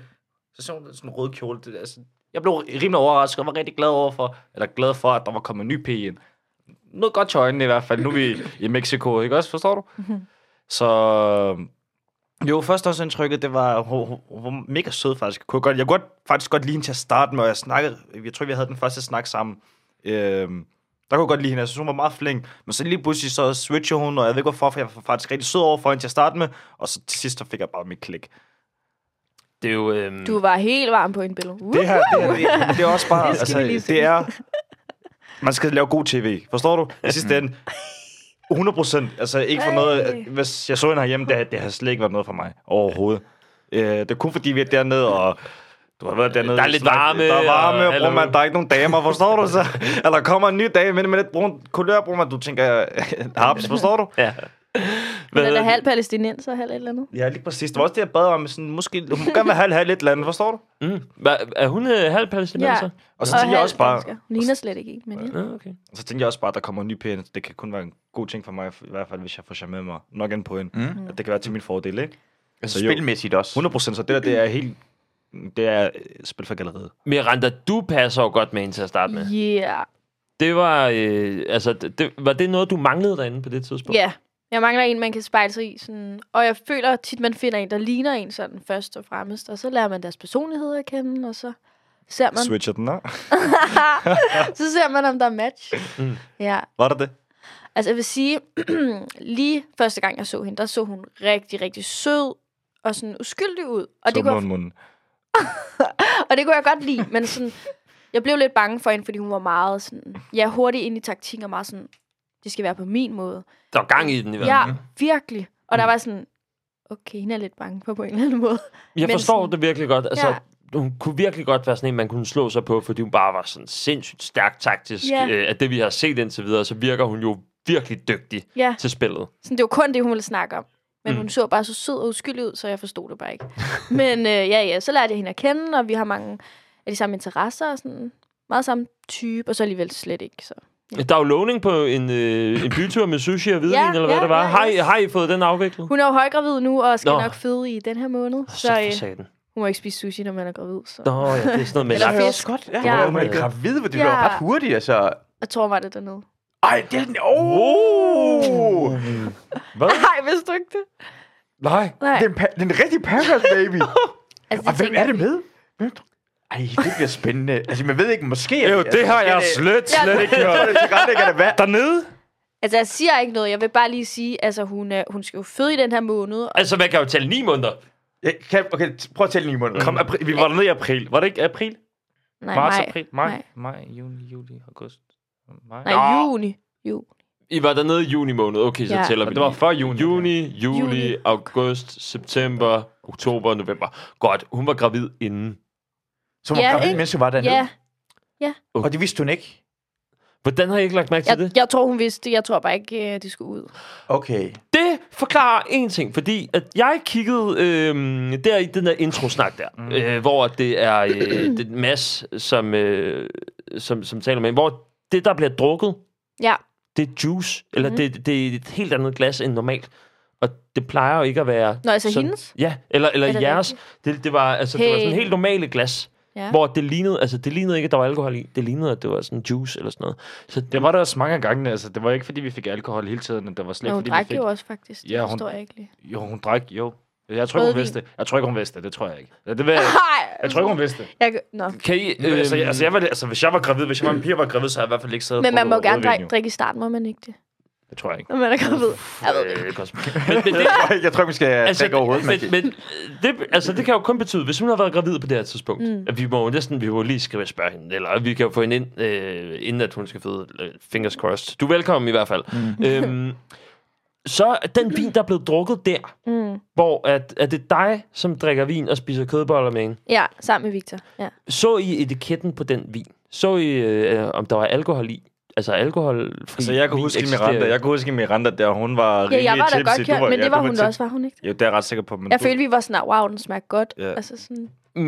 S5: Så sådan, sådan en rød kjole. Det, altså, jeg blev rimelig overrasket, og var rigtig glad, over for, eller glad for, at der var kommet en ny pige ind. Noget godt til øjnene i hvert fald. Nu er vi i Mexico, ikke også? Forstår du? Så jo, førstehåndsindtrykket, det var, hun, hun, hun var mega sød faktisk. Jeg kunne, godt, jeg kunne godt, faktisk godt lide hende til at starte med, og jeg snakkede, jeg tror, vi havde den første snak sammen. Øhm, der kunne jeg godt lide hende, jeg synes, hun var meget flink. Men så lige pludselig så switcher hun, og jeg ved ikke hvorfor, for jeg var faktisk rigtig sød over for hende til at starte med. Og så til sidst, så fik jeg bare mit klik.
S4: Det er jo... Øhm,
S3: Du var helt varm på en billede.
S5: Det her, det, her, det, her, det er også bare, det, altså,
S3: vi lige sige.
S5: det er, man skal lave god tv, forstår du? I sidste ende, 100 procent, altså ikke for noget, hvis jeg så hende herhjemme, det, det har slet ikke været noget for mig, overhovedet. Øh, det er kun fordi, vi er dernede, og du har været dernede.
S4: Der er lidt
S5: snak-
S4: varme,
S5: Der er varme,
S4: og-
S5: og, bror, man, der er ikke nogen damer, forstår
S4: *laughs*
S5: du så? Eller der kommer en ny dame ind med lidt brun kulør, bror, man, du tænker, haps, forstår du?
S4: ja.
S3: Hun er da
S4: hedder
S3: halv palæstinenser, halv et eller andet.
S5: Ja, lige præcis. Det var også det, jeg bad om, sådan, måske, hun må gerne være halv, halv et eller andet, forstår du?
S4: Mm. Hva, er hun øh, halv palæstinenser?
S5: Og så
S3: Og
S5: tænker jeg
S3: halv
S5: også bare, Øh,
S3: dansker. Hun ligner slet ikke en, men ja.
S4: Ja. Okay.
S5: Og så tænkte jeg også bare, at der kommer en ny pæn. Det kan kun være en god ting for mig, i hvert fald hvis jeg får charmeret mig nok ind på hende. Mm. At det kan være til min fordel, ikke?
S1: Altså,
S5: jo.
S1: spilmæssigt også.
S5: 100 procent, så det der, det er helt... Det er øh, spil for galleriet.
S4: Miranda, du passer jo godt med hende til at starte med.
S3: Yeah.
S4: Det var... Øh, altså, det, det- var det noget, du manglede derinde på det tidspunkt?
S3: Ja. Jeg mangler en, man kan spejle sig i. Sådan. Og jeg føler tit, man finder en, der ligner en sådan først og fremmest. Og så lærer man deres personlighed at kende, og så ser man,
S5: Switcher den af.
S3: *laughs* så ser man om der er match. Mm. Ja.
S5: Var der det?
S3: Altså, jeg vil sige, *clears throat* lige første gang, jeg så hende, der så hun rigtig, rigtig sød og sådan uskyldig ud. Og
S5: Så
S3: det, kunne
S5: munden,
S3: jeg,
S5: *laughs* munden.
S3: og det kunne jeg godt lide, men sådan, jeg blev lidt bange for hende, fordi hun var meget sådan, ja, hurtig ind i taktik og meget sådan, det skal være på min måde.
S4: Der var gang i den i hvert fald.
S3: Ja, virkelig. Og der var sådan, okay, hende er lidt bange på på en eller anden måde. *laughs*
S4: Jeg
S3: Men
S4: forstår
S3: sådan-
S4: det virkelig godt. Altså, hun kunne virkelig godt være sådan en, man kunne slå sig på, fordi hun bare var sådan sindssygt stærk taktisk.
S3: Ja.
S4: Øh, at det, vi har set indtil videre, så virker hun jo virkelig dygtig
S3: Ja,
S4: til spillet.
S3: sådan, det var kun det, hun ville snakke om. Men
S4: Mm.
S3: mm. hun så bare så sød og uskyldig ud, så jeg forstod det bare ikke. Men øh, ja, ja, så lærte jeg hende at kende, og vi har mange af de samme interesser og sådan meget samme type, og så alligevel slet ikke. Så.
S4: Der er jo lovning på en, øh, en bytur med sushi og hvidvin,
S3: Ja,
S4: eller hvad
S3: ja,
S4: det var.
S3: ja,
S4: har, I,
S3: yes.
S4: har I fået den afviklet?
S3: Hun er jo højgravid nu, og skal
S4: Nå.
S3: Nå. nok føde i den her måned. Så
S4: for
S3: øh,
S4: satan.
S3: hun må ikke spise sushi, når man er gravid. Så.
S4: Nå, ja, det er sådan noget med
S3: Eller
S4: laks.
S3: fisk.
S1: godt. Ja,
S3: Ja.
S1: ja. Hun er gravid, hvor det
S3: Ja.
S1: ja. ret hurtigt, altså.
S3: Jeg tror, var det dernede. *laughs*
S1: Ej, det er den... Oh!
S3: Nej, vidste du ikke det?
S1: Nej.
S3: Nej.
S1: Den, pa- den rigtige
S3: *laughs*
S1: Paradise Baby.
S3: Altså,
S1: Og
S3: det
S1: hvem
S3: tænker
S1: er det
S3: jeg-
S1: med? Hvem ej, det bliver spændende. Altså, man ved ikke, måske...
S5: Jo, det har jeg slet,
S3: Ja.
S5: slet ikke hørt.
S1: tilrettelægger det hvad?
S5: Dernede?
S3: Altså, jeg siger ikke noget. Jeg vil bare lige sige, altså, hun, øh, hun skal jo føde i den her måned. Og
S4: Altså, man kan jo tælle ni måneder.
S1: Ja, kan, okay, t- prøv at tælle den i munden.
S5: Kom, april, vi var dernede i april. Var det ikke april?
S3: nej,
S5: Marts,
S3: maj.
S5: april, maj,
S3: Nej.
S5: maj, juni, juli, august. Maj.
S3: Nej, juni. Jo.
S4: I var dernede i juni måned. Okay, så
S3: Ja.
S4: tæller
S5: Og
S4: vi
S5: det var
S4: lige.
S5: før juni.
S4: Juni, juli, juli,
S3: Juli.
S4: august, september, oktober, november. Godt, hun var gravid inden.
S1: Som var
S3: Ja,
S1: gravid,
S3: ikke?
S1: mens hun var dernede.
S3: Ja,
S1: Og det vidste hun ikke.
S4: Hvordan har I ikke lagt mærke til
S3: Jeg,
S4: det?
S3: jeg tror, hun vidste det. Jeg tror bare ikke, øh, de skulle ud.
S1: Okay.
S4: Det forklarer en ting, fordi at jeg kiggede øhm, der i den der introsnak der, mm. øh, hvor det er øh, det er Mads, som, øh, som, som taler med, hvor det, der bliver drukket,
S3: Ja. Mhm.
S4: det er juice, eller mm. det, det er et helt andet glas end normalt. Og det plejer jo ikke at være...
S3: Nå, altså hendes?
S4: Ja, eller, eller
S3: Er det
S4: jeres. Det, det, var, altså, hey. det var sådan
S3: Hey.
S4: helt normale glas,
S3: Ja.
S4: hvor det lignede, altså, det lignede ikke, at der var alkohol i. Det lignede, at det var sådan juice eller sådan noget. Så det
S10: Det
S4: var...
S10: var der også mange af gangene. Altså, det var ikke, fordi vi fik alkohol hele tiden. Det var slet
S3: Men
S10: ikke,
S3: hun
S10: fordi
S3: drak
S10: vi fik...
S3: jo også faktisk. Det
S10: Ja, hun-
S3: forstår jeg ikke lige.
S10: Jo, hun drak, jo. Jeg tror ikke, hun
S3: Rødvin.
S10: vidste det. Jeg tror ikke, hun vidste det. Det tror jeg ikke. Ja, Det ved jeg, ikke.
S3: Nej.
S10: jeg tror ikke, hun vidste det.
S3: Jeg, kan- Nå.
S4: Kan I, øhm,
S10: Øh, altså, jeg, altså,
S4: *laughs*
S10: jeg var,
S5: Øhm.
S10: altså, hvis jeg var gravid, hvis jeg var en pige, var gravid, så havde jeg i hvert fald ikke siddet og
S3: Men man må
S10: drukket
S3: gerne
S10: rødvin,
S3: drikke,
S10: jo.
S3: drikke i starten, må man ikke det?
S10: Det tror jeg ikke.
S3: Når man er gravid. Jeg ved det ikke.
S4: Øh, Cosmo. men, men det,
S1: *laughs* Jeg tror, vi skal altså, tænke over
S4: men,
S1: hovedet,
S4: men det, altså, det kan jo kun betyde, hvis hun har været gravid på det her tidspunkt, mm. at vi må jo næsten vi må lige skrive spørge hende, eller vi kan jo få hende ind, øh, inden at hun skal føde. Øh, Fingers crossed. Du er velkommen i hvert fald. Mm. *laughs* Øhm, så er den vin, der er blevet drukket der, mm. hvor at, at det er dig, som drikker vin og spiser kødboller med en.
S3: Ja, sammen med Victor. Ja.
S4: Så I etiketten på den vin? Så I, øh, om der var alkohol i? Altså alkohol
S5: Altså, jeg kunne huske Miranda, jeg kunne huske Miranda, der hun var
S3: ja,
S5: rimelig
S3: jeg var da
S5: tipsy.
S3: godt
S5: Du
S3: kørt, men
S5: ja,
S3: det
S5: du
S3: var hun da
S5: tip-
S3: også, var hun ikke? det?
S5: Jo, det er jeg ret sikker på. Men
S3: Jeg
S5: du-
S3: følte, vi var sådan, wow, den smager godt.
S5: Ja.
S3: Altså sådan,
S4: Mm,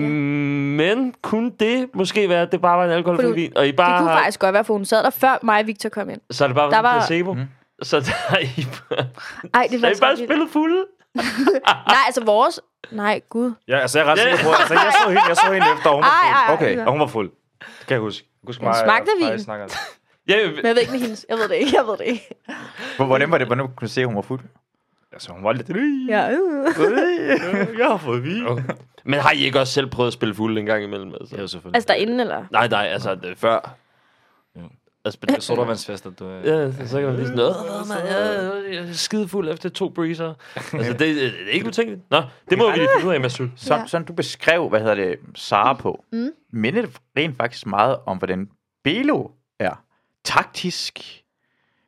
S4: men kunne det måske være, at det bare var en alkoholfri
S3: Fordi-
S4: vin? Og I
S3: det
S4: bare
S3: kunne
S4: har-
S3: faktisk godt være, for hun sad der før mig og Victor kom ind.
S4: Så er det bare
S3: Der
S4: der var...
S3: var-
S4: placebo. Mm. Så der er I
S3: *laughs*
S4: bare,
S3: Ej, det
S4: der
S3: var
S4: er I bare spillet fulde.
S3: Nej, altså vores... Nej, gud.
S5: Ja, altså, jeg er ret sikker på, altså, jeg så hende, jeg så hende efter, og hun
S3: Ej,
S5: var
S3: ej,
S5: fuld.
S1: Okay.
S5: Og hun var fuld. Det kan jeg huske. Jeg husker
S3: Men
S5: mig og
S3: smagte
S5: Freja
S3: vin?
S5: snakker.
S4: Ja,
S3: Men jeg ved ikke med hendes. Jeg ved det ikke, jeg ved det ikke.
S1: Hvordan var det, hvordan kunne du se, at hun var fuld?
S5: Altså, hun var lidt... Øh,
S3: Ja, øh.
S5: Jeg har fået vin.
S4: okay. Men har I ikke også selv prøvet at spille fulde en gang imellem? Altså?
S5: Ja, selvfølgelig.
S3: Altså derinde, eller?
S4: Nej, nej, altså det, før.
S5: Ja.
S4: Altså,
S5: Det er sodavandsfester, du... øh,
S4: Ja, så- så kan man lige sådan, "Åh, mand, jeg- jeg er skidefuld efter to breezer. Altså, det, det er ikke utænkeligt. Nå, det må vi lige finde ud af, Mads Sølv.
S1: Sådan,
S3: Ja.
S1: sådan du beskrev, hvad hedder det, Sara på, mm. minder det rent faktisk meget om, hvordan Belo er. Taktisk,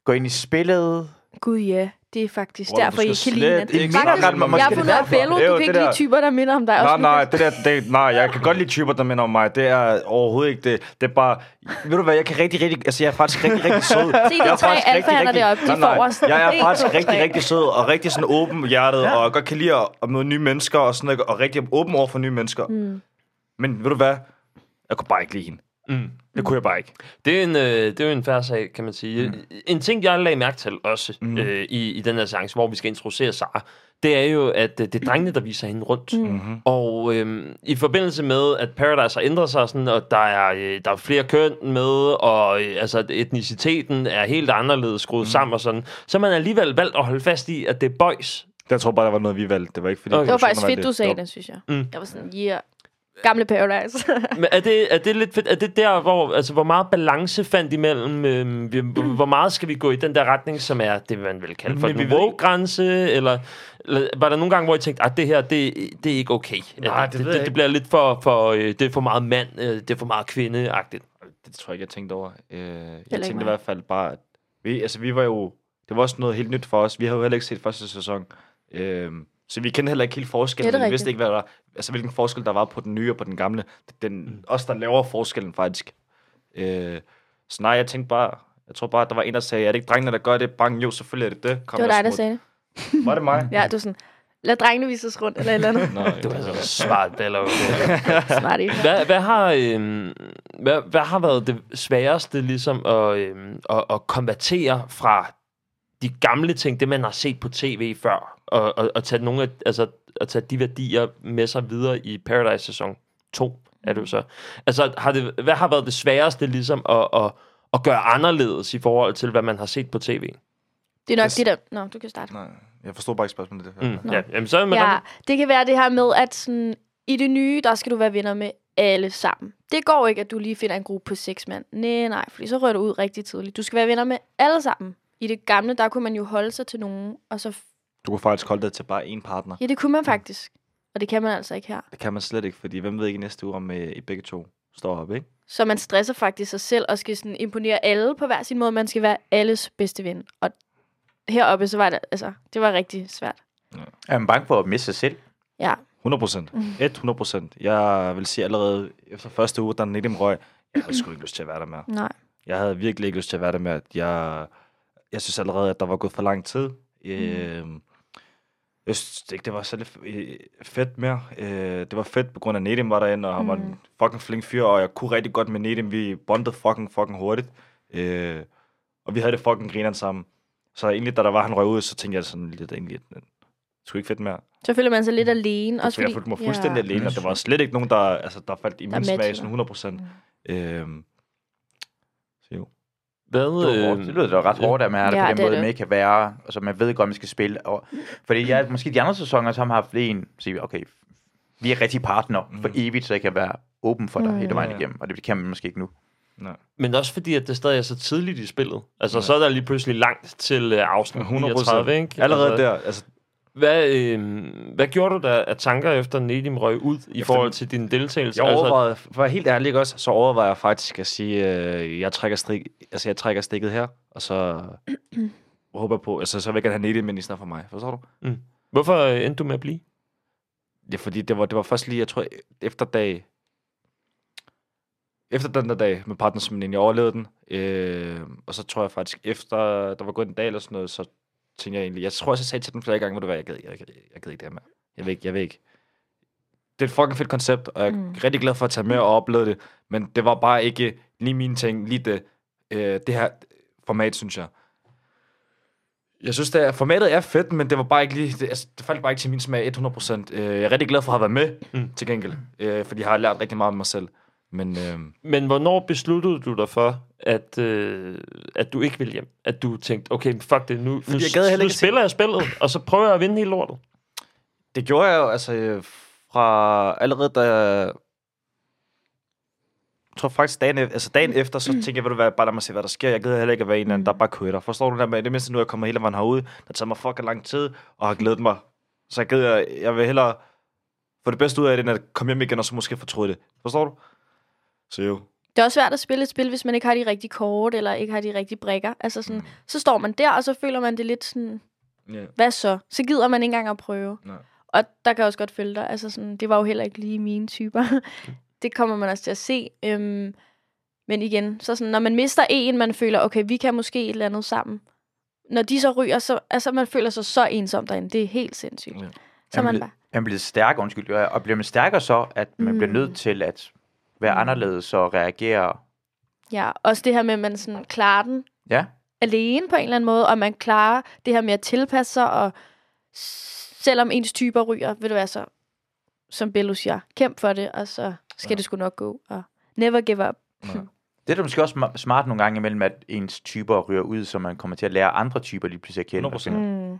S1: går ind i spillet.
S3: Gud ja, det er faktisk
S5: Rolle, du
S3: derfor, I
S5: skal
S3: kan lide
S5: slet
S3: hende.
S5: ikke
S1: Faktisk-
S5: snakke om
S1: Jeg har
S5: mig.
S3: Jeg har
S1: Måske
S3: fundet
S1: det
S3: af
S1: er derfor.
S3: Bello.
S5: Det er
S3: Du
S5: jo
S3: kan
S5: det
S3: ikke lide
S5: der-
S3: typer, der minder om dig.
S5: Nej,
S3: også,
S5: nej,
S3: Lukas.
S5: det der, det, nej, jeg kan godt lide typer, der minder om mig. Det er overhovedet ikke det. Det er bare, ved du hvad, jeg kan rigtig, rigtig, altså jeg er faktisk rigtig,
S3: *laughs*
S5: rigtig
S3: Se,
S5: sød. jeg
S3: de
S5: er
S3: tre
S5: faktisk
S3: alfahander deroppe, de
S5: nej, nej,
S3: forreste.
S5: jeg er
S3: En,
S5: faktisk
S3: to,
S5: rigtig,
S3: tre.
S5: rigtig sød og rigtig sådan åben hjertet, ja. og godt kan lide at, at møde nye mennesker og sådan noget, og rigtig åben over for nye mennesker. Mm. Men ved du hvad, jeg kunne bare ikke lide hende.
S4: Mm.
S5: Det kunne jeg bare ikke.
S4: Det er, en, øh, det er jo en færre sag, kan man sige. Mm. En ting, jeg lagde mærke til også mm. øh, i, i den her seance, hvor vi skal introducere Sara, det er jo, at øh, det er drengene, der viser hende rundt.
S5: Mm-hmm.
S4: Mm. Og øh, i forbindelse med, at Paradise har ændret sig, sådan, og der er, øh, der er flere køn med, og øh, altså, etniciteten er helt anderledes skruet mm. sammen og sådan, så har man alligevel valgt at holde fast i, at det er
S10: *laughs*
S4: boys.
S5: Jeg tror bare, der var noget, vi valgte. Det var ikke fordi...
S4: Okay.
S3: Det var faktisk
S5: produktionen
S3: fedt, du sagde
S5: var-
S3: det, synes jeg.
S5: Mm.
S3: Jeg var sådan, yeah. Gamle Paradise. *laughs*
S4: Men er det, er det lidt fedt? Er det der, hvor, altså, hvor meget balance fandt imellem? Øh, vi- hvor meget skal vi gå i den der retning, som er det, man vil kalde for
S5: Men vi
S4: en
S5: ved
S4: woke-grænse? Eller, eller var der nogle gange, hvor I tænkte, at det her, det, det er ikke okay?
S10: Nej,
S4: Eller,
S10: det ved
S4: det,
S10: jeg
S4: det,
S10: ikke.
S4: bliver lidt for, for øh, det er for meget mand, øh, det er for meget kvinde-agtigt.
S5: Det tror jeg ikke, jeg tænkte over. Øh, jeg
S3: ikke
S5: tænkte
S3: mig.
S5: i hvert fald bare, at vi, altså, vi var jo... Det var også noget helt nyt for os. Vi havde jo heller ikke set første sæson. Øh, så vi kendte heller ikke helt
S3: Ja,
S5: forskellen.
S3: det er
S5: vi
S3: rigtigt.
S5: vidste ikke, hvad der, altså, hvilken forskel der var på den nye og på den gamle. Den, mm. Os, der laver forskellen faktisk. Øh, så nej, jeg tænkte bare... Jeg tror bare, at der var en, der sagde, er det ikke drengene, der gør det? Bang, jo, selvfølgelig er det det. Kom,
S3: Det var
S5: jeg
S3: dig, der
S5: smut.
S3: sagde det.
S5: Var det mig?
S3: Ja, du var sådan, lad drengene vise os rundt, eller et eller
S5: *laughs*
S3: andet.
S5: Nå,
S4: Det var altså smart, *laughs* eller
S3: Smart ikke?
S4: hvad, hvad, har, øh, hvad, hvad har været det sværeste ligesom at, øh, at, at konvertere fra de gamle ting, det man har set på tv før, og, og, og tage nogle af, altså, at tage de værdier med sig videre i Paradise sæson 2, er det jo så. Altså, har det, hvad har været det sværeste ligesom at, at, at gøre anderledes i forhold til, hvad man har set på tv?
S3: Det er nok
S5: Yes.
S3: det der... Nå, du kan starte.
S5: nej, jeg forstod bare ikke spørgsmålet. Det, her.
S4: Mm. Ja, jamen, så er man
S3: Ja, det kan være det her med, at sådan, i det nye, der skal du være venner med alle sammen. Det går ikke, at du lige finder en gruppe på seks mand. Nej, nej, fordi så rører du ud rigtig tidligt. Du skal være venner med alle sammen. I det gamle, der kunne man jo holde sig til nogen, og så...
S5: Du kunne faktisk holde dig til bare én partner.
S3: Ja, det kunne man faktisk. Og det kan man altså ikke her.
S5: Det kan man slet ikke, fordi hvem ved ikke næste uge, om øh, I begge to står op, ikke?
S3: Så man stresser faktisk sig selv og skal sådan imponere alle på hver sin måde. Man skal være alles bedste ven. Og heroppe, så var det, altså, det var rigtig svært.
S1: Er man bange for at miste sig selv?
S3: Ja,
S5: 100 procent. 100 procent. Jeg vil sige allerede efter første uge, der Nedim røg, jeg havde sgu ikke lyst til at være der mere.
S3: nej.
S5: Jeg havde virkelig ikke lyst til at være det med, at jeg, jeg synes allerede, at der var gået for lang tid. Mm. Øh, jeg synes ikke, det var særlig f- øh, fedt mere. Øh, det var fedt på grund af Nedim var derinde, og han var en fucking flink fyr, og jeg kunne rigtig godt med Nedim. Vi bondede fucking, fucking hurtigt. Øh, og vi havde det fucking grineren sammen. Så egentlig, da der var, han røg ud, så tænkte jeg sådan lidt, egentlig, at det skulle ikke fedt mere.
S3: Så føler man sig lidt alene. Også
S5: Også Altså, jeg
S3: fordi,
S5: følte mig fuldstændig ja. alene, og der var slet ikke nogen, der, altså, der faldt i min
S3: matchede
S5: smag
S3: dig.
S5: sådan 100%. Mm. Øhm, så jo.
S4: Hvad,
S1: Det, var hårdt. det lyder da ret hårdt, at man har det
S3: Ja,
S1: på den
S3: det er
S1: måde,
S3: det.
S1: man ikke kan være, og så man ved godt, man skal spille. Og, fordi jeg, måske de andre sæsoner, så har man haft en, sige, okay, vi er rigtig partner for evigt, så jeg kan være åben for dig
S3: Mm,
S1: hele vejen igennem, og det kan man måske ikke nu.
S4: Men også fordi, at det stadig er så tidligt i spillet. Altså, ja. så er der lige pludselig langt til øh, afsnit
S5: 100%.
S4: 130, ikke?
S5: Allerede
S4: altså,
S5: der, altså,
S4: Hvad, øh, hvad gjorde du da af tanker efter Nedim røg ud i forhold til din deltagelse? Altså,
S5: jeg overvejede, for at være helt ærlig ikke også, så overvejede jeg faktisk at sige, øh, jeg, trækker strik, altså, jeg trækker stikket her, og *clears throat* så håber jeg på, altså så vil jeg gerne have Nedim, men i stedet for mig, forstår du?
S4: Hvorfor øh, endte du med at blive?
S5: Ja, fordi det var, det var først lige, jeg tror, efter dag... Efter den der dag med partnersmidlen, jeg overlevede den. Øh, og så tror jeg faktisk, efter der var gået en dag eller sådan noget, så tænkte jeg egentlig... Jeg tror også, jeg sagde til dem flere gange, hvor det var, jeg gad, jeg, jeg, jeg gad ikke det her med. Jeg ved ikke, jeg ved ikke. Det er et fucking fedt koncept, og jeg er mm. rigtig glad for at tage med og opleve det. Men det var bare ikke lige mine ting, lige det, øh, det her format, synes jeg. Jeg synes, at formatet er fedt, men det var bare ikke lige, det, altså, det faldt bare ikke til min smag 100%. Øh, jeg er rigtig glad for at have været med, mm. til gengæld. Øh, fordi jeg har lært rigtig meget om mig selv. Men øh,
S4: Men hvornår besluttede du dig for, at, øh, at du ikke ville hjem? At du tænkte, okay, fuck det, nu, nu,
S5: jeg gad heller
S4: nu
S5: ikke at
S4: spiller jeg spillet, og så prøver jeg at vinde hele lortet.
S5: det gjorde jeg jo altså øh, fra allerede da... Jeg tror faktisk dagen, ef- altså dagen efter, så tænkte jeg, ved du hvad, bare lad mig se, hvad der sker. Jeg gider heller ikke at være en eller anden, der bare kører. Forstår du det med? I Det mindste nu, jeg kommer hele vejen herude, der tager mig fucking lang tid, og har glædet mig. Så jeg gider, jeg vil hellere få det bedste ud af det, end at komme hjem igen, og så måske fortryde det. Forstår du? Så jo.
S3: Det er også svært at spille et spil, hvis man ikke har de rigtige kort, eller ikke har de rigtige brikker. Altså sådan,
S5: Mm.
S3: så står man der, og så føler man det lidt sådan,
S5: Ja.
S3: hvad så? Så gider man ikke engang at prøve.
S5: Nej.
S3: Og der kan jeg også godt følge dig. Altså sådan, det var jo heller ikke lige mine typer. *laughs* det kommer man også til at se. Øhm, men igen, så sådan, når man mister en, man føler, okay, vi kan måske et eller andet sammen. Når de så ryger, så altså, man føler sig så ensom derinde. Det er helt sindssygt.
S5: Ja.
S3: Ja. Så er
S1: Jamen,
S3: man
S1: det-
S3: bare,
S1: Man bliver stærkere, undskyld, og og bliver man stærkere så, at man mm. bliver nødt til at være
S3: Mm.
S1: anderledes og reagere.
S3: ja. Også det her med, at man sådan klarer den
S1: Ja,
S3: alene på en eller anden måde, og man klarer det her med at tilpasse sig, og s- selvom ens typer ryger, vil du være så, som Bello siger, kæmp for det, og så skal ja. det sgu nok gå, og never give up.
S1: det er da måske også sma- smart nogle gange imellem, at ens typer ryger ud, så man kommer til at lære andre typer lige pludselig at kende.
S5: 100%.
S3: Mm.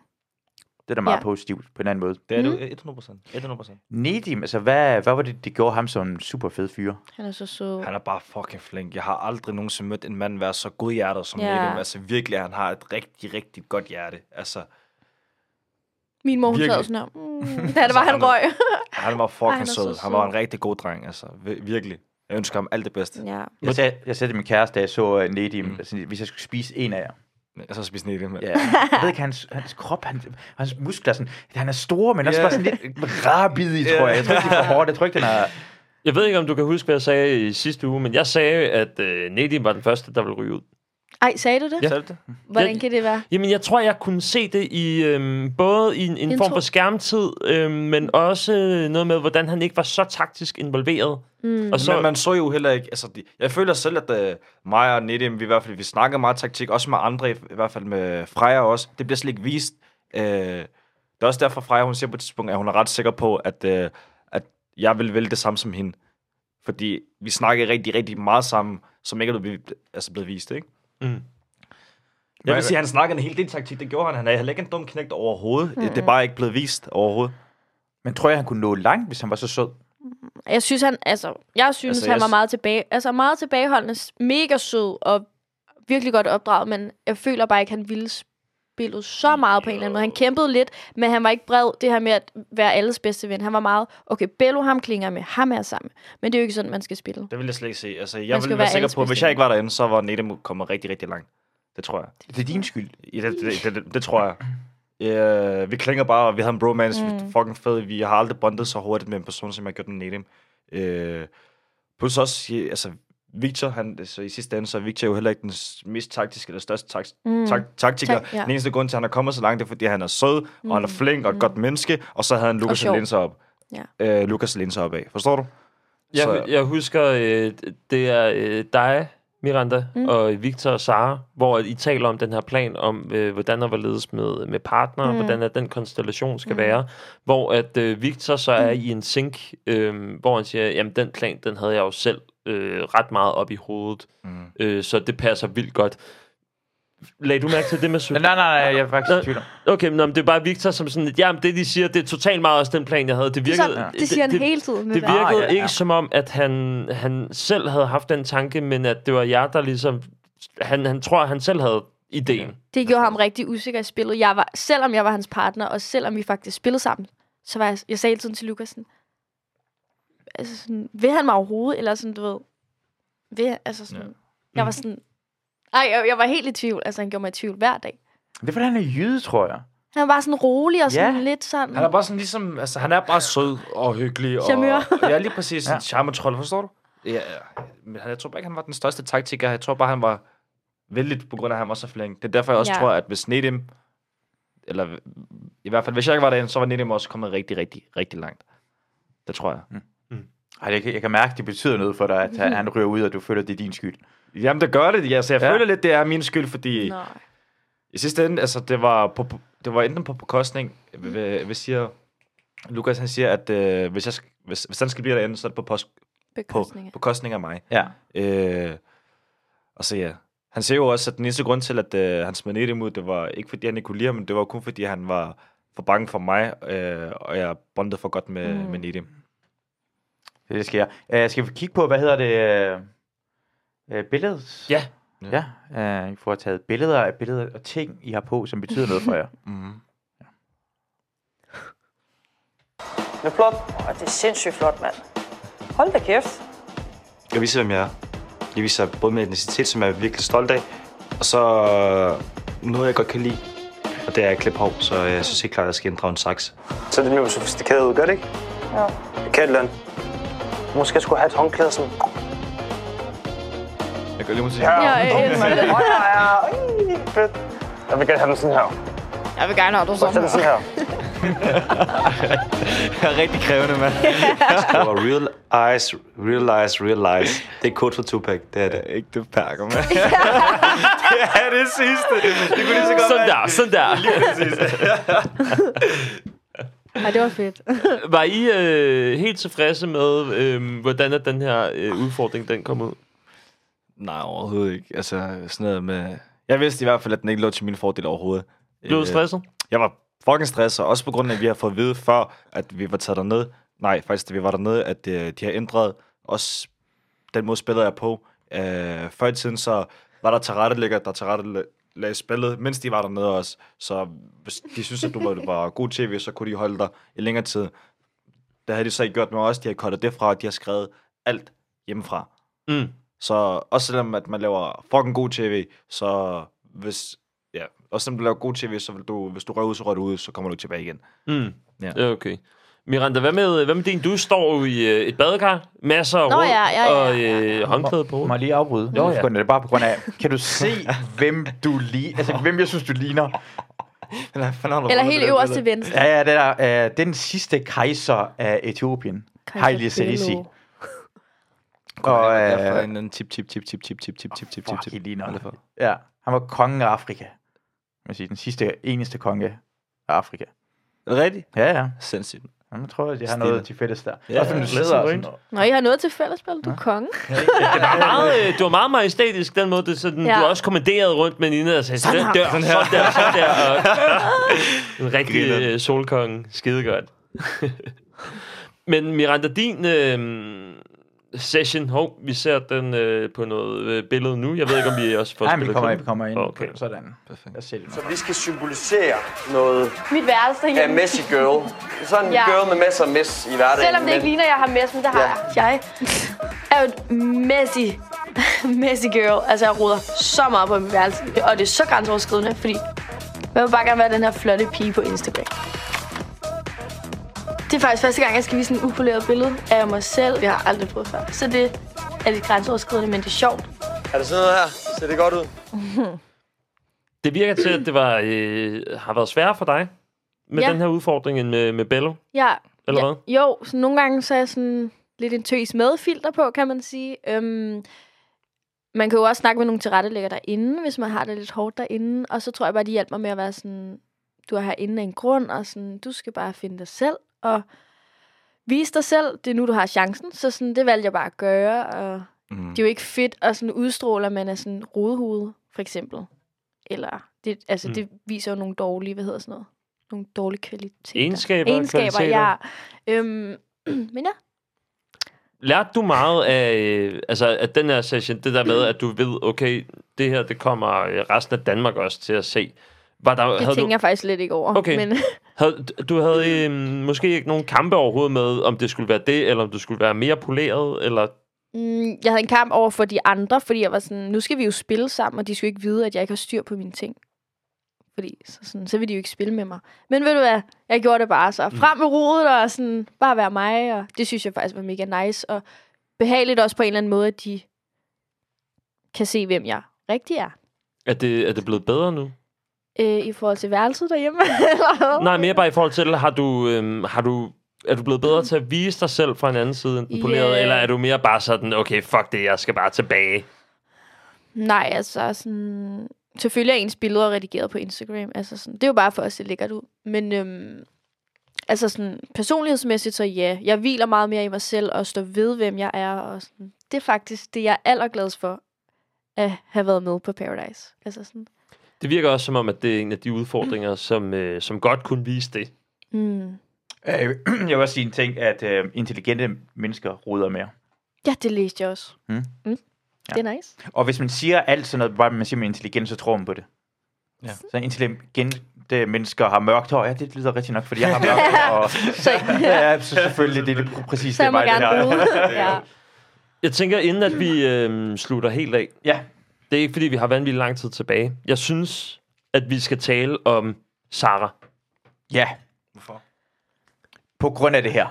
S1: Det er da meget
S3: Ja.
S1: positivt på en anden måde.
S5: Det er
S3: Mm.
S5: det 100%. 100%.
S1: Nedim, altså hvad, hvad var det, det gjorde ham som en super fed fyr?
S3: Han er så sød.
S5: Han er bare fucking flink. Jeg har aldrig nogensinde mødt en mand være så godhjertet som
S3: Ja.
S5: yeah. Nedim. Altså virkelig, han har et rigtig, rigtig godt hjerte. Altså,
S3: Min mor, hun sad
S5: Virkelig.
S3: sådan her, mm, da det var, han røg.
S5: han var
S3: Ej,
S5: fucking
S3: han er
S5: Ej,
S3: så
S5: sød. Han
S3: sød. Mm.
S5: var en rigtig god dreng, altså. Vi- Virkelig. Jeg ønsker ham alt det bedste.
S3: ja.
S1: Jeg sagde, jeg sagde til min kæreste, da jeg så øh, Nedim, mm. altså, hvis jeg skulle spise en af jer.
S5: Jeg så spiste Nedim.
S1: Ja.
S5: Yeah.
S1: Jeg ved ikke, hans, hans krop, hans, hans muskler, sådan, han er store, men også
S5: Ja.
S1: bare sådan lidt rabidig, tror jeg. Jeg tror ikke, det er for hårdt. Jeg tror ikke, den er...
S4: Jeg ved ikke, om du kan huske, hvad jeg sagde i sidste uge, men jeg sagde, at øh, Nedim var den første, der ville ryge ud.
S3: Ej, sagde du det?
S4: Ja.
S5: Sagde du det?
S3: Hvordan
S4: Jeg-
S3: kan det være?
S4: Jamen, jeg tror, jeg kunne se det i øhm, både i en, en
S3: Intro.
S4: form for skærmtid, øhm, men også øh, noget med, hvordan han ikke var så taktisk involveret. Mm. Og
S5: Så... Men
S4: så,
S5: man så jo heller ikke, altså, de, jeg føler selv, at uh, mig og Nedim, vi i hvert fald, vi snakker meget taktik, også med andre, i, i hvert fald med Freja også, det bliver slet ikke vist. Uh, det er også derfor, Freja, hun siger på et tidspunkt, at hun er ret sikker på, at, uh, at jeg vil vælge det samme som hende. Fordi vi snakkede rigtig, rigtig meget sammen, som ikke er blevet, altså blevet vist, ikke?
S4: Mm.
S5: Jeg vil sige, at han snakkede en hel del taktik, det gjorde han. Han er heller ikke en dum knægt overhovedet. Mm. Det er bare ikke blevet vist overhovedet.
S1: Men tror jeg, han kunne nå langt, hvis han var så sød?
S3: Jeg synes, han, altså, jeg synes, altså,
S5: Altså,
S3: han
S5: jeg
S3: var
S5: s-
S3: meget, tilbage, altså, meget tilbageholdende, s- mega sød og virkelig godt opdraget, men jeg føler bare ikke, han ville spillet så meget på en eller anden måde. Han kæmpede lidt, men han var ikke bred det her med at være alles bedste ven. Han var meget, okay, Bello ham klinger med, ham er jeg sammen. med. Men det er jo ikke sådan, man skal spille.
S5: Det vil jeg slet ikke se. Altså,
S3: Man
S5: jeg
S3: skal være
S5: vil være sikker
S3: alles
S5: på, at hvis
S3: bedste
S5: jeg ikke var derinde, så var Nedim kommet rigtig, rigtig langt. Det tror jeg.
S1: Det er din skyld.
S5: Ja, det, det, det, det, det tror jeg. Øh, vi klinger bare, og vi havde en bromance. Mm. Vi er fucking fed. Vi har aldrig bondet så hurtigt med en person, som jeg har gjort med Nedim. Øh, plus også, ja, altså, Victor, han, så i sidste ende, så er Victor jo heller ikke den s- mest taktiske eller største tak,
S3: Mm.
S5: mm. tak, taktiker.
S3: Tak, ja.
S5: Den eneste grund til, at han er kommet så langt, det er, fordi han er sød, mm. og han er flink og et godt menneske, og så havde han Lukas
S3: sjov.
S5: Linser op.
S3: Ja.
S5: Øh, Lukas Linser op af. Forstår du?
S4: Jeg,
S5: Så-
S4: jeg husker, øh, det er øh, dig, Miranda, mm. og Victor og Sara, hvor I taler om den her plan om, øh, hvordan der var ledes med, med partner, mm. hvordan at den konstellation skal mm. være, hvor at øh, Victor så er i en sink, øh, hvor han siger, jamen den plan, den havde jeg jo selv øh, ret meget op i hovedet, mm. øh, så det passer vildt godt. Lagde du mærke til det med
S1: Men nej, nej, nej, jeg er faktisk i
S4: Nå,
S1: tvivl om.
S4: Okay, men nå, men det er bare Victor, som sådan, at, jamen det de siger, det er totalt meget også den plan, jeg havde. Det virkede,
S3: så, det siger han hele tiden.
S4: det
S3: der.
S4: virkede
S1: Ah, ja,
S4: ja,
S1: ja.
S4: ja. ikke som om, at han, han selv havde haft den tanke, men at det var jer, der ligesom... Han, han tror, at han selv havde ideen.
S3: Det gjorde ham rigtig usikker i spillet. Jeg var, selvom jeg var hans partner, og selvom vi faktisk spillede sammen, så var jeg, jeg sagde hele tiden til Lukas, sådan, altså sådan, vil han mig overhovedet, eller sådan, du ved, vil, han- altså sådan, ja. jeg
S10: Mhm.
S3: var sådan, ej, jeg, jeg, var helt i tvivl, altså han gjorde mig i tvivl hver dag.
S1: Det er, fordi han er jyde, tror jeg.
S3: Han var bare sådan rolig og sådan
S1: Ja.
S3: lidt sådan,
S10: Han er bare sådan ligesom, altså han er bare sød og hyggelig. Og,
S3: Charmeur.
S10: *laughs* ja, lige præcis. Ja. En charmetrol, forstår du? Ja, ja. men han- jeg tror bare ikke, han var den største taktiker. Jeg tror bare, han var vældig på grund af, at han var så flink. Det er derfor, jeg også
S3: Ja.
S10: ja. tror, at hvis Nedim, eller i hvert fald, hvis jeg ikke var derinde, så var Nedim også kommet rigtig, rigtig, rigtig langt. Det tror jeg.
S1: Ej, jeg, kan- jeg kan mærke, det betyder noget for dig, at han, han ryger ud, og du føler, det er din skyld.
S10: Jamen, det gør det. Altså, jeg
S1: Ja.
S10: ja. føler lidt, det er min skyld, fordi...
S3: Nå.
S10: I sidste ende, altså, det var, på, det var enten på bekostning, hvad, hvad siger Lukas, han siger, at øh, hvis, jeg, sk- hvis, hvis han skal blive derinde, så er det på, post, på
S3: bekostninger.
S10: bekostning af mig.
S1: Ja.
S10: Øh, og så ja, han ser jo også, at den eneste grund til, at øh, han smed Nedim ud, det var ikke fordi, han ikke kunne lide ham, men det var kun fordi, han var for bange for mig, øh, og jeg bondede for godt med, mm. med Nedim.
S1: Det sker. Uh, skal vi kigge på, hvad hedder det? Uh, billedet?
S4: Ja.
S1: Ja, uh, I får taget billeder af billeder og ting, I har på, som betyder noget for jer.
S5: Mm-hmm.
S6: Det er flot. Og det er sindssygt flot, mand. Hold da kæft.
S5: Jeg viser, hvem jeg er. Jeg viser både min etnicitet, som jeg er virkelig stolt af, og så noget, jeg godt kan lide. Og det er at klippe hår, så øh, jeg synes helt klart, at jeg skal inddrage en saks.
S8: Så er det mere sofistikeret ud, gør det ikke? Ja. Jeg kan et eller andet. Måske jeg skulle have et håndklæde sådan.
S5: Jeg gør lige måske.
S3: Ja, øh, jeg, elsker det.
S8: Åh, ja, ja. Ui, fedt. Jeg vil gerne have den sådan her.
S3: jeg vil gerne have, du
S8: Så er den
S3: sådan.
S8: sådan her.
S5: Jeg er rigtig krævende, mand. det var real eyes, real eyes, real eyes. Det er kort for Tupac, det er det. Ikke det pakker, *laughs* mand. det er det sidste. Det kunne lige så godt
S4: Sådan der, sådan der. *laughs*
S3: Ej, det var fedt.
S4: Var I øh, helt tilfredse med, øh, hvordan at den her øh, udfordring den kom ud?
S5: Nej, overhovedet ikke. Altså, sådan noget med... Jeg vidste i hvert fald, at den ikke lå til min fordel overhovedet.
S4: Blev du
S5: Øh,
S4: stresset?
S5: Jeg var fucking stresset, også på grund af, at vi har fået at vide før, at vi var taget derned. Nej, faktisk, da vi var dernede, at øh, de har ændret også den måde, spillet er på. Øh, før i tiden, så var der tilrettelægger, der tilrettelagde spillet, mens de var dernede også. Så hvis de synes, at du var, var god tv, så kunne de holde dig i længere tid. Det havde de så ikke gjort med os. De har kottet det fra, og de har skrevet alt hjemmefra.
S4: Mm.
S5: Så også selvom at man laver fucking god tv, så hvis... Ja, også selvom du laver god tv, så vil du, hvis du røver ud, så rører du ud, så kommer du ikke tilbage *laughs* igen.
S4: Mm.
S5: Ja.
S4: Ja. Okay. Miranda, hvad med, hvad med din? Du står jo i øh, et badekar, masser af
S3: Nå,
S4: råd
S3: ja, ja, ja,
S4: og
S3: ja,
S4: øh, håndklæde på.
S1: *laughs* Må jeg lige afbryde? Jo, ja. Det er bare på grund af, kan du se, hvem du lige, altså hvem jeg synes, du ligner?
S3: Eller helt øverst til venstre.
S1: Ja, ja, det er øh, den sidste kejser af Etiopien. Haile Selassie. Og,
S5: Og,
S1: øh,
S5: øh, en anden tip, tip, tip, tip, tip, tip, tip, tip, tip,
S1: Fuck,
S5: tip.
S1: I ligner.
S5: Hvad er det for?
S1: Ja, han var kongen af Afrika. Man siger, den sidste, eneste konge af Afrika.
S5: Er det rigtigt?
S1: Ja, ja.
S5: Sindssygt.
S1: Jamen, jeg tror, at de har
S5: Stille.
S1: noget til fælles der.
S5: Ja,
S1: Også, når du
S5: lidt
S1: sidder og
S4: sådan
S1: sådan-
S3: Nå, I har noget til fællesspil, du er konge.
S4: Det var meget, øh, det var meget majestætisk, den måde, det, sådan,
S3: Ja.
S4: ja. du også kommanderede rundt med Nina og sagde, sådan der, sådan der, sådan der, sådan der.
S3: *laughs*
S4: Og, en rigtig øh, solkonge, skidegodt. *laughs* Men Miranda, din øh, session, hov, vi ser den øh, på noget øh, billede nu. Jeg ved ikke, om vi også får
S1: Nej, men vi
S4: spillet
S1: kommer ind,
S4: klippet.
S1: vi kommer ind.
S4: Okay.
S1: Sådan. Jeg ser det nu.
S11: Vi skal symbolisere noget
S3: Mit værelse
S11: af
S3: derhjemme.
S11: messy girl. Sådan en
S3: Ja.
S11: girl med masser af mess i hverdagen.
S3: Selvom det ikke
S11: men-
S3: ligner, at jeg har mess, men det har
S11: Ja.
S3: jeg. Jeg er jo et messy, *laughs* messy girl. Altså, jeg roder så meget på mit værelse. Og det er så grænseoverskridende, fordi jeg vil bare gerne være den her flotte pige på Instagram. Det er faktisk første gang, jeg skal vise en upoleret billede af mig selv. Jeg har aldrig prøvet før. Så det er lidt grænseoverskridende, men det er sjovt.
S11: Er det sådan noget her? Ser det godt ud?
S4: Det virker til, at det var, øh, har været sværere for dig med
S3: Ja.
S4: ja. den her udfordring end med, med Bello,
S3: Ja,
S4: eller
S3: ja,
S4: hvad?
S3: Jo, så nogle gange så er jeg sådan lidt en tøs med filter på, kan man sige. Øhm, man kan jo også snakke med nogle tilrettelægger derinde, hvis man har det lidt hårdt derinde. Og så tror jeg bare, de hjælper mig med at være sådan, du er herinde af en grund, og sådan, du skal bare finde dig selv, og vise dig selv, det er nu, du har chancen. Så sådan, det valgte jeg bare at gøre, og mm. det er jo ikke fedt at sådan udstråle, at man er sådan rodehoved, for eksempel. Eller, det, altså,
S4: Mm.
S3: mm. det viser jo nogle dårlige, hvad hedder sådan noget? Nogle dårlige kvaliteter.
S4: Egenskaber,
S3: Egenskaber,
S4: kvaliteter.
S3: ja. Øhm, *clears throat* men ja,
S4: Lærte du meget af, øh, altså, at den her session, det der med, at du ved, okay, det her, det kommer øh, resten af Danmark også til at se. Var der,
S3: det tænker
S4: du,
S3: du... jeg faktisk slet ikke over.
S4: Okay.
S3: Men *laughs*
S4: havde, du havde øh, måske ikke nogen kampe overhovedet med, om det skulle være det, eller om du skulle være mere poleret, eller...
S3: mm, jeg havde en kamp over for de andre, fordi jeg var sådan, nu skal vi jo spille sammen, og de skulle ikke vide, at jeg ikke har styr på mine ting. Fordi så, sådan, så vil de jo ikke spille med mig. Men ved du hvad, jeg gjorde det bare
S4: Mm.
S3: så. Frem med rodet og sådan, bare være mig. Og det synes jeg faktisk var mega nice. Og behageligt også på en eller anden måde, at de kan se, hvem jeg rigtig er.
S4: Er det, er det blevet bedre nu?
S3: Øh, I forhold til værelset derhjemme. *laughs* eller hvad?
S4: Nej, mere bare i forhold til, har du, øhm, har du, er du blevet bedre til at vise dig selv fra en anden side end den polerede,
S3: Ja.
S4: eller er du mere bare sådan, okay, fuck det, jeg skal bare tilbage?
S3: Nej, altså sådan... Selvfølgelig er ens billeder redigeret på Instagram. Altså sådan, det er jo bare for at se lækkert ud. Men øhm, altså sådan, personlighedsmæssigt, så ja. Jeg hviler meget mere i mig selv og står ved, hvem jeg er. Og sådan. Det er faktisk det, jeg er allergladest for at have været med på Paradise. Altså sådan,
S4: Det virker også som om, at det er en af de udfordringer, som, øh, som godt kunne vise det.
S3: mm.
S1: Øh, *clears throat* Jeg vil også sige en ting, at øh, intelligente mennesker ruder mere.
S3: Ja, det læste jeg også.
S1: Mm.
S3: Mm. Ja. Det er nice.
S1: Og hvis man siger alt sådan noget, bare man siger med intelligent, så tror man på det. Ja. Så intelligente mennesker har mørkt hår. Ja, det lyder rigtigt nok, fordi jeg har mørkt hår.
S5: *laughs*
S1: Og,
S3: Så,
S1: *laughs* ja, så selvfølgelig, det er lige
S3: *laughs*
S1: præcis
S3: så
S1: det
S3: jeg må
S1: mig, det
S3: gerne
S1: her.
S3: bruge. *laughs* ja.
S4: Jeg tænker, inden at vi øh, slutter helt af,
S1: *laughs* Ja,
S4: det er ikke, fordi vi har vanvittigt lang tid tilbage. Jeg synes, at vi skal tale om Sara.
S1: ja.
S5: Hvorfor?
S1: På grund af det her.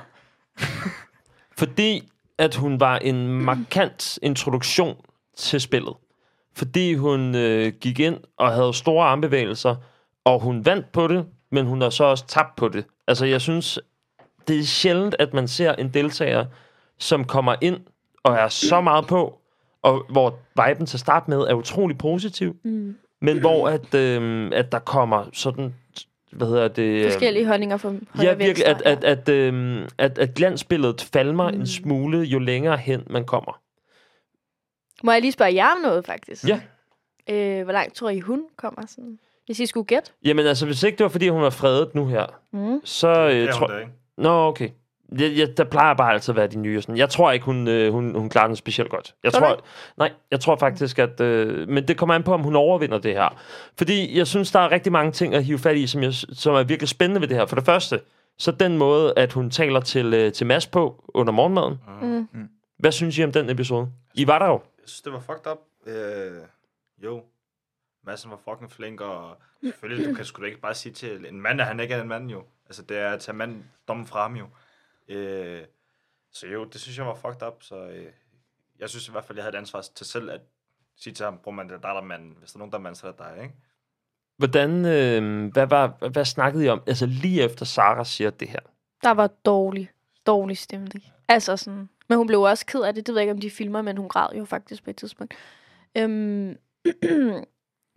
S4: Fordi at hun var en markant introduktion til spillet. Fordi hun øh, gik ind og havde store armbevægelser, og hun vandt på det, men hun har så også tabt på det. Altså, jeg synes, det er sjældent, at man ser en deltager, som kommer ind og er så meget på, og hvor viben til start med er utrolig positiv,
S3: Mm.
S4: men hvor at, øh, at der kommer sådan, hvad hedder det...
S1: Øhm,
S4: øh,
S3: Forskellige holdninger fra højre
S4: Ja,
S3: og
S4: virkelig. At,
S3: venstre,
S4: at, at, øhm, at, at glansbilledet falmer mm. en smule, jo længere hen man kommer.
S3: Må jeg lige spørge jer om noget, faktisk?
S4: Ja.
S3: Øh, hvor langt tror I, hun kommer? Sådan? Hvis I skulle gætte?
S4: Jamen altså, hvis ikke det var, fordi hun var fredet nu her,
S3: Mm.
S4: så øh,
S5: Jeg tror
S4: tror
S5: det, ikke?
S4: Nå, okay. Jeg, jeg, der plejer bare altid at være de nye. og Sådan. Jeg tror ikke, hun, øh, hun, hun klarer den specielt godt. Jeg
S3: Tror
S4: tror,
S3: du
S4: nej, jeg tror faktisk, at... Øh, men det kommer an på, om hun overvinder det her. Fordi jeg synes, der er rigtig mange ting at hive fat i, som, jeg, som er virkelig spændende ved det her. For det første, så den måde, at hun taler til, øh, til Mads på under morgenmaden.
S3: Mm.
S4: Hvad synes I om den episode? I var der jo.
S5: Jeg synes, det var fucked up. Øh, jo. Madsen var fucking flink, og selvfølgelig, du kan sgu da ikke bare sige til en mand, at han ikke er en mand jo. Altså, det er at tage mand dommen fra ham jo. Øh, så jo, det synes jeg var fucked up, så øh, jeg synes i hvert fald, jeg havde et ansvar til selv at sige til ham, bror mand, det er dig, der er manden. Hvis der er nogen, der er mand, så er det dig, ikke?
S4: Hvordan, øh, hvad, var, hvad snakkede I om, altså lige efter Sara siger det her?
S3: Der var dårlig, dårlig stemning. Altså sådan... Men hun blev også ked af det. Det ved jeg ikke, om de filmer, men hun græd jo faktisk på et tidspunkt. Øhm, *clears throat*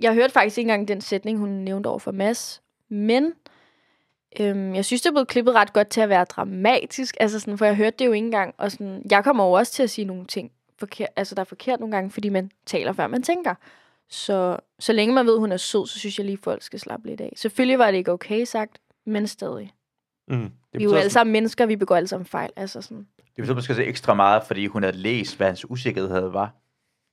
S3: jeg hørte faktisk ikke engang den sætning, hun nævnte over for Mads. Men øhm, jeg synes, det er blevet klippet ret godt til at være dramatisk. Altså sådan, for jeg hørte det jo ikke engang. Og sådan, jeg kommer jo også til at sige nogle ting, forkert, altså, der er forkert nogle gange, fordi man taler, før man tænker. Så, så længe man ved, hun er sød, så synes jeg lige, folk skal slappe lidt af. Selvfølgelig var det ikke okay sagt, men stadig.
S4: Mm.
S1: Det
S3: Vi er jo
S1: betyder,
S3: alle sammen mennesker, vi begår alle sammen fejl. Altså sådan.
S1: det betyder måske så ekstra meget, fordi hun havde læst, hvad hans usikkerhed havde var.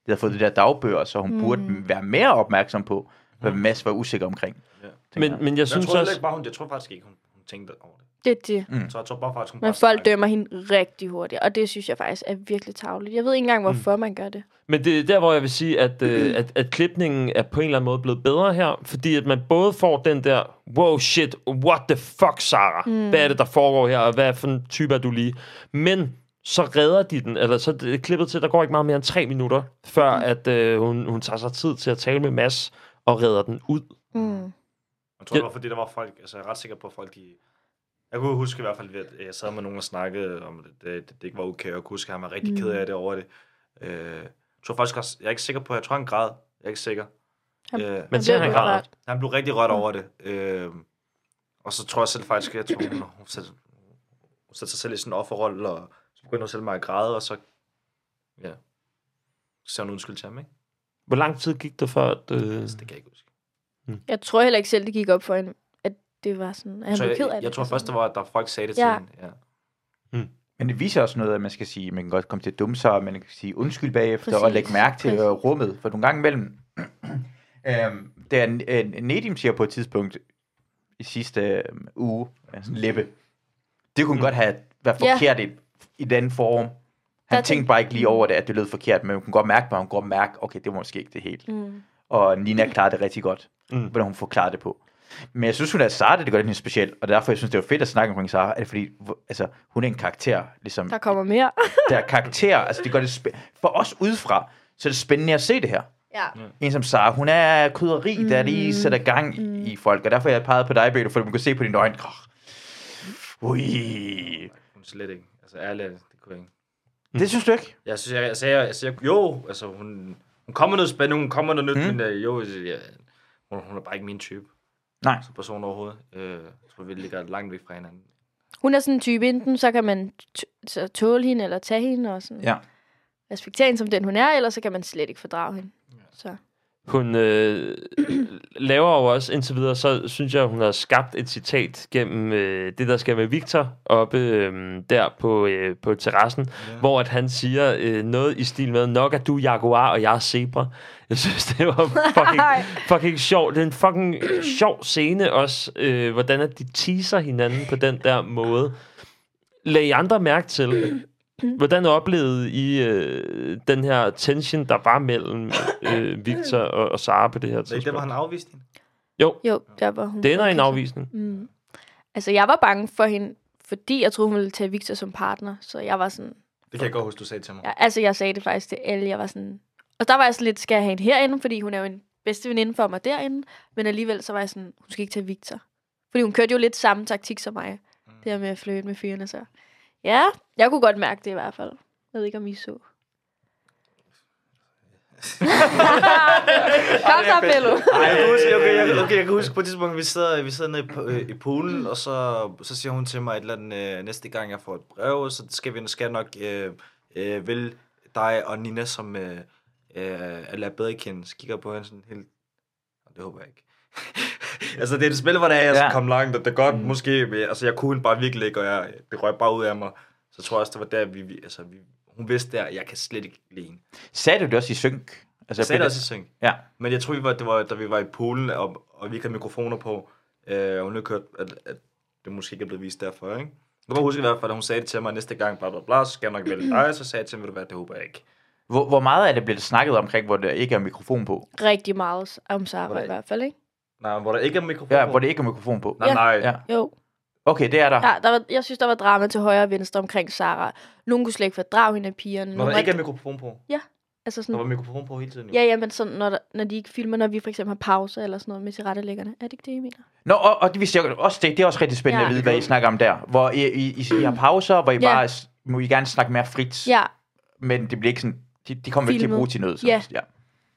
S1: Det havde fået de der dagbøger, så hun mm. burde være mere opmærksom på, hvad Mads var usikker omkring.
S5: Ja.
S1: tænker
S4: Men, men jeg
S5: Jeg, jeg
S4: synes
S5: tror, også...
S4: også...
S5: ikke bare, hun, jeg tror faktisk ikke, hun, hun tænkte over det.
S3: Det er det.
S5: Så jeg tror bare faktisk, hun
S3: Men
S5: bare
S3: folk
S5: snakkede.
S3: dømmer hende rigtig hurtigt, og det synes jeg faktisk er virkelig tavligt. Jeg ved ikke engang, hvorfor mm. man gør det.
S4: Men det er der, hvor jeg vil sige, at, øh, at, at klipningen er på en eller anden måde blevet bedre her, fordi at man både får den der, wow shit, what the fuck, Sara? Mm. Hvad er det, der foregår her, og hvad for en type er du lige? Men så redder de den, eller så er det klippet til, der går ikke meget mere end tre minutter, før
S3: Mm.
S4: at øh, hun, hun tager sig tid til at tale med Mads og redder den ud.
S3: Mm.
S5: Jeg tror, det var fordi, der var folk, altså jeg er ret sikker på, at folk de... Jeg kunne huske i hvert fald, at jeg sad med nogen og snakkede om, at det, det, det ikke var okay, og jeg kunne huske, at han var rigtig
S3: Mm.
S5: ked af det over det. Øh, jeg tror faktisk også, jeg er ikke sikker på, jeg tror, han græd. Jeg er ikke sikker.
S3: Han-
S5: øh,
S4: Men ser han
S3: lidt
S4: græder.
S3: rørt.
S5: han blev rigtig rørt over det. Øh, og så tror jeg selv faktisk, at jeg tror, hun, hun, satte, hun satte sig selv i sådan en offerrolle, og så begyndte hun selv mig at græde, og så... Ja. Så sagde hun undskyld til ham, ikke?
S4: Hvor lang tid gik der før, at... Øh,
S5: Altså, det kan jeg ikke huske.
S3: Jeg tror heller ikke selv, det gik op for hende, at det var sådan, at han
S5: Så
S3: blev
S5: jeg,
S3: ked af
S5: jeg,
S3: det. altså.
S5: jeg tror først, det var, at der folk sagde det
S3: Ja.
S5: til hende. Ja.
S1: Men det viser også noget, at man skal sige, man kan godt komme til at dumme sig, og man kan sige undskyld bagefter, Præcis. og
S3: Præcis.
S1: lægge mærke til
S3: Præcis.
S1: øh, rummet. For nogle gange imellem, *clears throat* øhm, der øh, Nedim siger på et tidspunkt i sidste øh, uge, øh, sådan læbe, det kunne mm. godt have været
S3: Ja.
S1: forkert i, i den form. Han
S3: Der
S1: der tænkte
S3: tænkte- Mm.
S1: bare ikke lige over det, at det lød forkert, men man kunne godt mærke, at man kunne godt mærke, okay, det var måske ikke det helt.
S3: Mm.
S1: Og Nina klarede det rigtig godt,
S4: Mm.
S1: mm. hvordan hun forklarede det på. Men jeg synes, hun er Sara, det gør det specielt, og derfor jeg synes, det var fedt at snakke omkring Sara, er det fordi hvor- altså, hun er en karakter, ligesom
S3: Der kommer mere. *laughs*
S1: der er karakterer. Altså, det gør det spæ- for os udefra, så er det spændende at se det her.
S3: ja.
S1: En som Sara, hun er krydderi, mm. der lige sætter gang mm. i folk. Og derfor har jeg peget på dig, Bette, for man kan se på dine øjne. grrr. Ui.
S5: Hun slet ikke. Altså ærligt, det kunne jeg ikke. Mm.
S1: Det synes du ikke?
S5: Jeg synes, jeg, altså, jeg, altså, jeg, jo, altså hun, hun kommer noget spændende, hun kommer noget nyt, mm. men øh, jo, jeg, hun, hun er bare ikke min type
S1: Nej.
S5: som person overhovedet. Øh, jeg tror, vi ligger langt væk fra hinanden.
S3: Hun er sådan en type, enten så kan man t- så tåle hende eller tage hende og sådan
S1: Ja.
S3: respektere hende som den, hun er, eller så kan man slet ikke fordrage hende. Så.
S4: Hun øh, laver jo også indtil videre, så synes jeg, hun har skabt et citat gennem øh, det, der sker med Victor oppe øh, der på, øh, på terrassen, ja. hvor at han siger øh, noget i stil med, nok er du jaguar, og jeg er zebra. Jeg synes, det var fucking, fucking sjovt. Det er en fucking øh, sjov scene også, øh, hvordan at de teaser hinanden på den der måde. Lad I andre mærke til, Hvordan oplevede I øh, den her tension, der var mellem øh, Victor og, og Sara på det her
S5: Det er ikke det, hvor
S4: tidspunkt?
S5: han afviste hende.
S3: Jo, der var hun.
S4: Det ender i en afvisning.
S3: Mm. Altså, jeg var bange for hende, fordi jeg troede, hun ville tage Victor som partner. Så jeg var sådan...
S5: Det kan jeg godt huske, du sagde til mig.
S3: Jeg, altså, jeg sagde det faktisk til alle. Jeg var sådan... Og der var jeg sådan lidt, skal jeg have hende herinde? Fordi hun er jo en bedste veninde for mig derinde. Men alligevel, så var jeg sådan, hun skal ikke tage Victor. Fordi hun kørte jo lidt samme taktik som mig.
S5: Mm.
S3: Det her med at flytte med fyrene, så... Ja, jeg kunne godt mærke det i hvert fald. Jeg ved ikke, om I
S5: *laughs*
S3: så. Kom så, Bello.
S5: Ej, jeg kan huske, okay, jeg, okay, jeg kan huske på et tidspunkt, vi sidder, vi sidder nede i, po- øh, i poolen, og så, så siger hun til mig et eller andet, øh, næste gang jeg får et brev, så skal vi skal jeg nok øh, øh, vælge dig og Nina, som øh, øh, eller bedre kende. Så kigger jeg på hende sådan helt, "Nå, det håber jeg ikke. *laughs* altså, det er et spil, hvor det er, jeg skal
S1: Ja.
S5: komme langt, og det er godt mm. måske, men, altså, jeg kunne hende bare virkelig ikke, og jeg, det røg bare ud af mig. Så tror jeg også, det var der, vi, vi altså, vi, hun vidste der, jeg kan slet ikke lide hende.
S1: Sagde du det også i synk? Altså,
S5: Jeg sagde det også i synk.
S1: Ja.
S5: Men jeg tror, vi var, det var, da vi var i Polen, og, og vi ikke havde mikrofoner på, øh, og hun ikke hørte, at, at det måske ikke er blevet vist derfor, ikke? Jeg kan bare huske i hvert fald, at hun sagde det til mig næste gang, bla bla bla, så skal jeg nok
S1: *clears throat*
S5: vælge dig, så sagde jeg til hende, ved du hvad, det håber jeg ikke.
S1: Hvor, hvor meget af det bliver det snakket omkring, hvor der ikke er mikrofon på?
S3: Rigtig meget om Sara
S5: Hvordan?
S3: i hvert fald, ikke?
S5: Nej, men hvor der ikke er mikrofon
S1: Ja,
S5: på.
S1: hvor det ikke er mikrofon på.
S5: Nej, nej.
S1: Ja.
S5: Ja.
S3: Jo.
S1: Okay, det er
S5: Ah.
S1: der.
S3: Der, der var, jeg synes, der var drama til højre og venstre omkring Sara. Nogen kunne slet ikke fordrage hende af pigerne.
S5: Når
S3: Nogen
S5: der
S3: var-
S5: ikke er mikrofon på.
S3: altså
S5: Der var
S3: sådan,
S5: mikrofon på hele tiden. Jo.
S3: ja, ja, men sådan, når, der, når de ikke filmer, når vi for eksempel har pauser eller sådan noget med tilrettelæggerne. Er det ikke det, I mener?
S1: Nå, og, og det, vidste jeg også det, det er også rigtig spændende
S3: Ja.
S1: at vide, hvad I snakker om der. Hvor I, I, I, I har pauser, hvor I
S3: Ja.
S1: bare s- må I gerne snakke mere frit.
S3: Ja,
S1: Men det bliver ikke sådan, de, de kommer ikke til at
S3: Filmet.
S1: bruge til noget. Så,
S3: Ja.
S1: ja.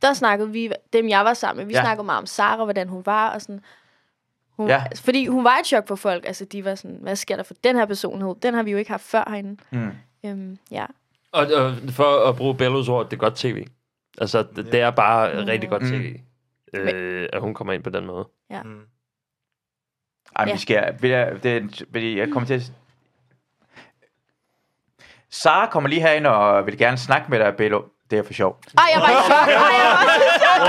S3: der snakkede vi, dem jeg var sammen med, vi
S1: Ja.
S3: ja. snakkede meget om Sara, hvordan hun var og sådan. Hun,
S1: Ja.
S3: ja. altså, fordi hun var et chok for folk. Altså, de var sådan, hvad sker der for den her personlighed? Den har vi jo ikke haft før herinde.
S1: Mm.
S3: Øhm, ja.
S4: Og, og for at bruge Bellos ord, det er godt tv. Altså, det, det er bare mm. rigtig godt
S1: Mm.
S4: tv, øh, at hun kommer ind på den måde.
S5: Mm.
S1: Ej, ja.
S3: Ja.
S1: vi skal... vil jeg- Det, er- fordi jeg kommer til at... Sara kommer lige herind og vil gerne snakke med dig, Bello. Det er for sjov.
S3: Ej, jeg var i
S5: *laughs*
S3: chok. Ej, jeg var så chok.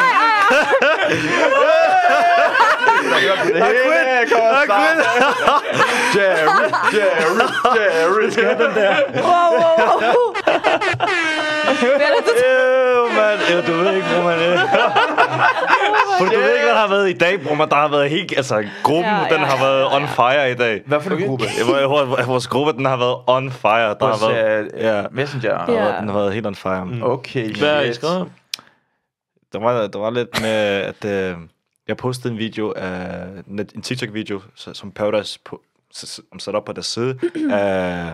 S3: Ej, ej, ej.
S1: Jerry, Jerry, Jerry.
S3: Wow, wow, wow.
S5: Øh, mand. Øh, du ved ikke, hvor man er. For du ved ikke, hvad der har været i dag, bror, man. Der har været helt... Altså, gruppen,
S3: Ja,
S5: ja,
S3: ja,
S5: ja, den har
S3: ja,
S5: været on fire i dag.
S1: Hvad for en gruppe?
S5: Ja, hvor- hvor- Vores gruppe, den har været on fire. Der har
S1: Hos
S5: været...
S1: uh,
S5: Ja.
S1: Messenger.
S3: Ja.
S5: Ja. Den har været helt on fire. Mm.
S1: Okay.
S4: Hvad er I
S1: shit.
S4: skrevet om?
S5: Der var, der var lidt med, at øh, jeg postede en video af net- en TikTok-video, så- som Paradise på, s- s- som sat op på deres side, *clears throat* af,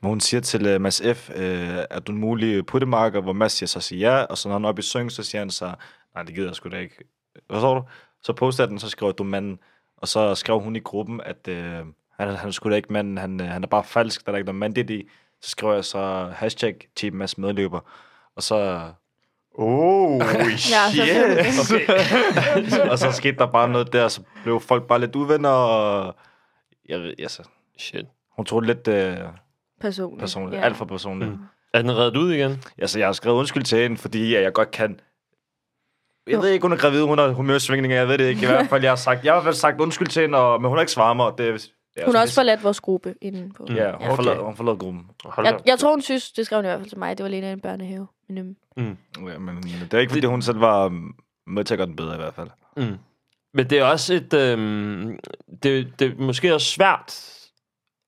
S5: hvor hun siger til øh, Mads F., øh, er du en mulig puttemarker, hvor Mads siger, så siger ja, og så når han er oppe i syng, så siger han så, nej, det gider jeg sgu da ikke. Hvad så du? Så postede jeg den, så skrev jeg, du er manden, og så skrev hun i gruppen, at øh, han, han er sgu da ikke manden, han, øh, han er bare falsk, der er ikke noget mandigt i. Så skrev jeg så hashtag team Mads medløber, og så *laughs*
S1: Oh, shit.
S5: og så skete der bare noget der, så blev folk bare lidt uvenner, og jeg ved, altså,
S4: Shit.
S5: hun tog det lidt øh,
S3: Personligt.
S5: personligt, ja. alt for personligt. Mm.
S4: Er den reddet ud igen?
S5: Altså, jeg har skrevet undskyld til hende, fordi at jeg godt kan... Jeg ved ikke, hun er gravid, hun har humørsvingninger, jeg ved det ikke. I hvert fald, jeg har sagt, jeg har i hvert fald sagt undskyld til hende, og, men hun har ikke svaret mig. og Det,
S3: Hun
S5: er-
S3: har også
S5: altså, det-
S3: forladt vores gruppe inden på.
S5: Ja, hun,
S4: Okay.
S5: Mm, okay. forlod, hun forlod gruppen.
S4: Hold da.
S3: Jeg, jeg tror, hun synes, det skrev hun i hvert fald til mig, det var Lena i en børnehave. Men, øhm,
S5: Ja, men, men det er ikke, fordi hun selv var øhm, med til at gøre den bedre i hvert fald.
S4: Mm. Men det er også et... Øhm, det, det er måske også svært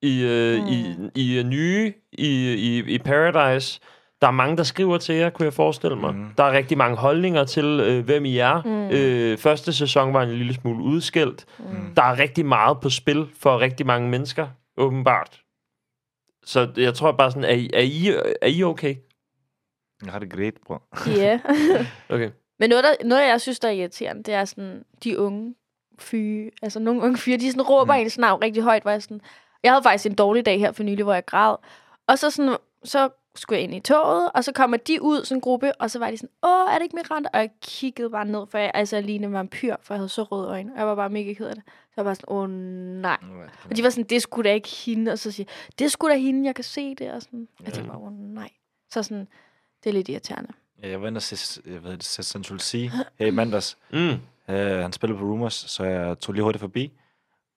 S4: i, øh, mm. i, i øh, nye, i, i, i Paradise. Der er mange, der skriver til jer, kunne jeg forestille mig. Mm. Der er rigtig mange holdninger til, øh, hvem I er. Mm. Øh, første sæson var en lille smule udskilt. Mm. Der er rigtig meget på spil for rigtig mange mennesker, åbenbart. Så jeg tror bare sådan, er I, er I, er I okay?
S5: Jeg har det great, bror.
S3: ja.
S4: Okay.
S3: Men noget, der, noget, jeg synes, der er irriterende, det er sådan, de unge fyre, altså nogle unge fyre, de sådan råber mm. ens navn rigtig højt, hvor jeg sådan, jeg havde faktisk en dårlig dag her for nylig, hvor jeg græd, og så sådan, så skulle jeg ind i toget, og så kommer de ud, sådan en gruppe, og så var de sådan, åh, er det ikke Miranda? Og jeg kiggede bare ned, for jeg, altså, jeg lignede en vampyr, for jeg havde så røde øjne, og jeg var bare mega ked af det. Så jeg var bare sådan, åh nej. Og de var sådan, det skulle da ikke hende, og så siger jeg, det skulle da hende, jeg kan se det, og sådan, og jeg tænkte bare, åh nej. Så sådan, det er lidt irriterende.
S5: Ja, jeg var inde og se, jeg ved, det, se Central Sea her i mandags.
S4: Mm.
S5: Uh, han spillede på Rumors, så jeg tog lige hurtigt forbi.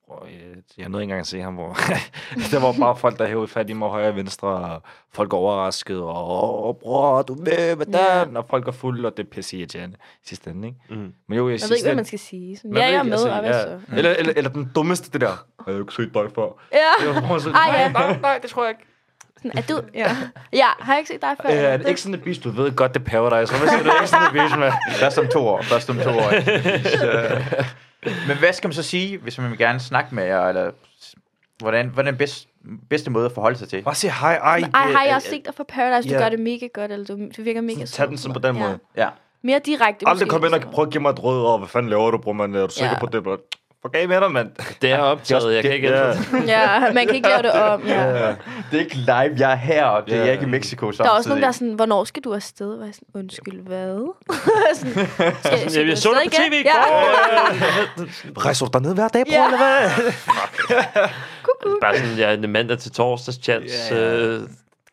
S5: Og, uh, jeg nåede ikke engang at se ham, hvor *laughs* der var bare folk, der hævde fat i mig højre og venstre, og folk er overraskede, og åh, bror, du er med, hvordan? Og folk er fulde, og det er pisse irriterende i sidste ende, ikke?
S4: Mm.
S5: Men jo, jeg
S3: Jeg ved ikke, hvad man skal sige. Sådan, ja, jeg er med,
S5: altså,
S3: altså. og hvad så?
S5: Eller, eller, eller den dummeste, det der. Jeg har ikke set dig før.
S3: Ja.
S5: Det var bare sådan,
S3: *laughs* Ej, ja.
S12: Nej, nej, det tror jeg ikke.
S3: Sådan, er
S12: *laughs*
S3: du? Ja. ja, har jeg ikke set dig før?
S5: "Øh, Er det ikke sådan et beast? Du ved godt, det er Paradise. Hvad siger du ikke sådan et beast, mand?
S1: Først om to år. Først om to år.
S10: *laughs*
S1: Så. Men hvad skal man så sige, hvis man vil gerne snakke med jer? Eller hvordan, hvordan er den bedst, bedste måde at forholde sig til?
S5: Bare sig hej, ej.
S3: Ej, har jeg
S5: øh,
S3: også set dig fra Paradise? Du
S5: ja.
S3: gør det mega godt, eller du, du virker mega sød.
S5: Tag den sådan på den måde.
S1: Ja.
S3: Mere direkte.
S5: Aldrig
S3: måske,
S5: kom ind og
S3: sådan noget.
S5: prøv at give mig et råd over, hvad fanden laver du, bror, mand? Er du sikker
S3: Ja.
S5: på det? Blot? Fuck af med dig, mand.
S4: Det er optaget, jeg kan ikke
S5: ja.
S4: ændre
S3: Ja, man kan ikke lave det om.
S5: *laughs*
S3: Ja.
S1: Det er ikke live, jeg er her, og det
S5: Ja.
S1: er jeg ikke i Mexico
S3: Der
S1: samtidig.
S3: er også nogen, der er sådan, hvornår skal du afsted? Hvor jeg sådan, undskyld,
S5: *laughs*
S3: hvad? *laughs* sådan, skal,
S4: Jeg, jeg så
S3: afsted
S4: dig på
S3: igen?
S4: tv i
S3: Ja.
S4: går.
S5: Rejser du dernede hver dag, bror,
S3: Ja.
S5: eller hvad?
S4: Bare sådan, ja, en mandag til torsdags chance, øh,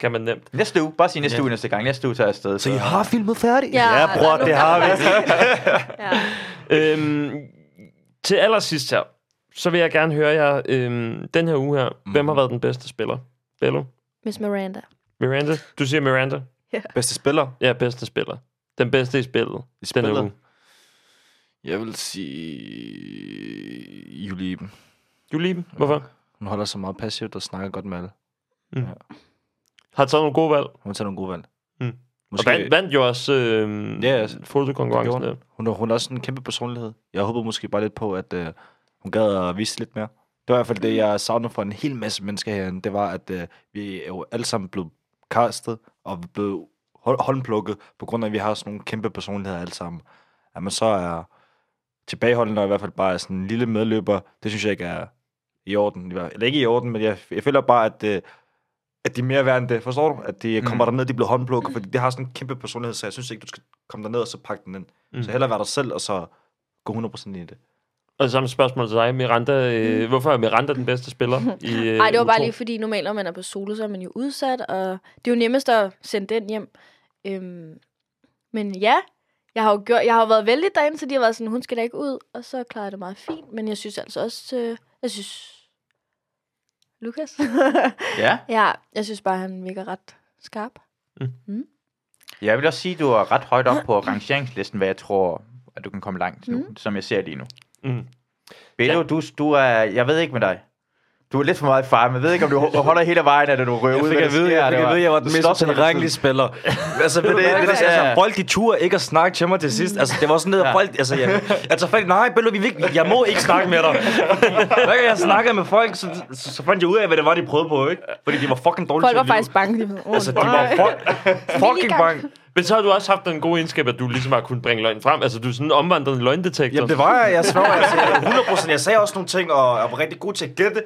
S4: kan man nemt.
S1: Næste uge. Bare sig næste uge næste gang. Næste uge tager jeg afsted.
S5: Så I har filmet færdigt?
S3: Ja,
S5: ja
S3: der
S5: bror,
S3: er nogen,
S5: det
S3: der-
S5: har vi.
S3: ja.
S4: Øhm, til allersidst her, så vil jeg gerne høre jer, øhm, den her uge her, mm.
S5: Mhm.
S4: hvem har været den bedste spiller? Bello?
S3: Miss Miranda.
S4: Miranda? Du siger Miranda?
S5: Bedste spiller?
S4: Ja, bedste spiller. Den bedste i spillet.
S5: I
S4: Den her
S5: spillet?
S4: uge.
S5: Jeg vil sige... Julie Iben.
S4: Du lige Hvorfor?
S5: Hun holder sig meget passivt og snakker godt med alle.
S4: Har taget nogle gode valg.
S5: Hun tager nogle gode valg.
S4: Mm.
S5: Måske,
S4: Og vandt, vandt jo også øhm,
S5: Ja,
S4: ja,
S5: altså,
S4: fotokonkurrencen.
S5: det
S4: Der.
S5: hun, er, hun er også en kæmpe personlighed. Jeg håbede måske bare lidt på, at øh, hun gad at vise lidt mere. Det var i hvert fald det, jeg savnede for en hel masse mennesker herinde. Det var, at øh, vi er jo alle sammen blevet kastet og blevet hold- håndplukket, på grund af, at vi har sådan nogle kæmpe personligheder alle sammen. At man så er tilbageholdende og i hvert fald bare er sådan en lille medløber, det synes jeg ikke er i orden. Eller ikke i orden, men jeg, jeg føler bare, at, øh, at de er mere værd end det. Forstår du? At de kommer mm. derned, de bliver håndplukket, fordi det har sådan en kæmpe personlighed, så jeg synes ikke, du skal komme derned og så pakke den ind. Mm. Så hellere være dig selv, og så gå 100% ind i det.
S4: Og samme spørgsmål til dig, Miranda. Øh, Hvorfor er Miranda den bedste
S3: *laughs*
S4: spiller? i øh,
S3: Nej, Mm. det var bare
S4: U2?
S3: lige fordi, normalt når man er på solo, så er man jo udsat, og det er jo nemmest at sende den hjem. Øhm, men ja, jeg har jo gjort, jeg har jo været vældig derinde, så de har været sådan, hun skal da ikke ud, og så klarer jeg det meget fint, men jeg synes altså også, øh, jeg synes, Lukas, *laughs*
S1: Ja.
S3: ja, jeg synes bare, han virker ret skarp.
S1: Jeg vil også sige, at du er ret højt op på rangeringslisten, hvad jeg tror, at du kan komme langt nu, mm. som jeg ser lige nu.
S4: Mm.
S1: Bello, ja. du, du er... Jeg ved ikke med dig. Du er lidt for meget i far, men jeg ved ikke, om du ho- holder hele vejen, eller du røver
S10: Jeg
S1: ud,
S10: fik
S1: hvad
S10: at
S1: der
S10: vide,
S1: sker,
S10: jeg, fik
S1: eller
S10: at vide,
S1: hvad?
S10: jeg var den
S1: Du
S10: mest
S1: slås hele
S10: tilrækkelige
S1: tiden.
S10: *laughs* spiller. altså, ved det, det, det,
S1: Ja,
S10: altså,
S1: ja.
S10: folk de turde ikke at snakke til mig til sidst. Altså, det var sådan noget, at folk... Altså, jeg, altså, folk, nej, Bello, vi vil ikke, jeg må ikke snakke med dig. Hver gang jeg snakkede med folk, så, så, så, fandt jeg ud af, hvad det var, de prøvede på, ikke? Fordi de var fucking dårlige
S3: Folk var
S10: at lyve.
S3: faktisk bange. De var sådan, oh,
S10: Altså, de var *laughs* fuck, fucking bange.
S4: Men så har du også haft den gode egenskab, at du ligesom har kunnet bringe løgn frem. Altså, du er sådan en omvandrende løgndetektor.
S10: Jamen, det var jeg. Jeg svarer altså, jeg er 100%. Jeg sagde også nogle ting, og jeg var rigtig god til at gætte,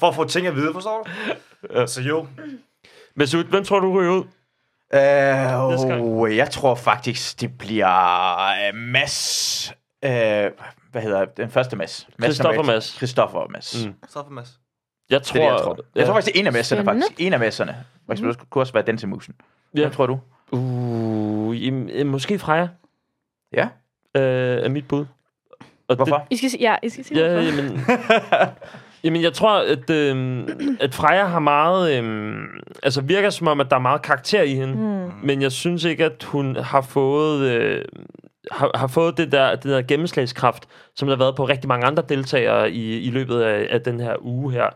S10: for at få ting at vide, forstår du? Så jo.
S4: Men Sut, hvem tror du ryger ud? Næste
S1: Øh,
S4: gang.
S1: oh, jeg tror faktisk, det bliver øh, Mads... Øh, hvad hedder den første Mads? Mads
S4: Christoffer
S1: nummer et.
S4: Mads.
S1: Christoffer Mads.
S4: Mm.
S1: Mm.
S10: Så for Mads.
S4: Jeg
S1: Det
S4: tror...
S1: er det, jeg tror. Jeg tror faktisk, det er en af messerne,
S3: Spændende.
S1: faktisk. En af messerne. For eksempel, det kunne også være Dancing Musen.
S4: Ja.
S1: Ja. Hvad tror du?
S4: Uh, jamen, øh, måske Freja
S1: Ja.
S4: øh, er mit bud. Og
S1: Hvorfor?
S3: I skal, sige- ja, I skal sige
S4: Det,
S3: ja,
S4: ja,
S3: hvorfor.
S4: jamen, jamen, jeg tror, at, øh, at Freja har meget... Øh, altså, virker som om, at der er meget karakter i hende. Mm. Men jeg synes ikke, at hun har fået... Øh, har, har fået det der, det der gennemslagskraft, som der har været på rigtig mange andre deltagere i, i løbet af, af den her uge her.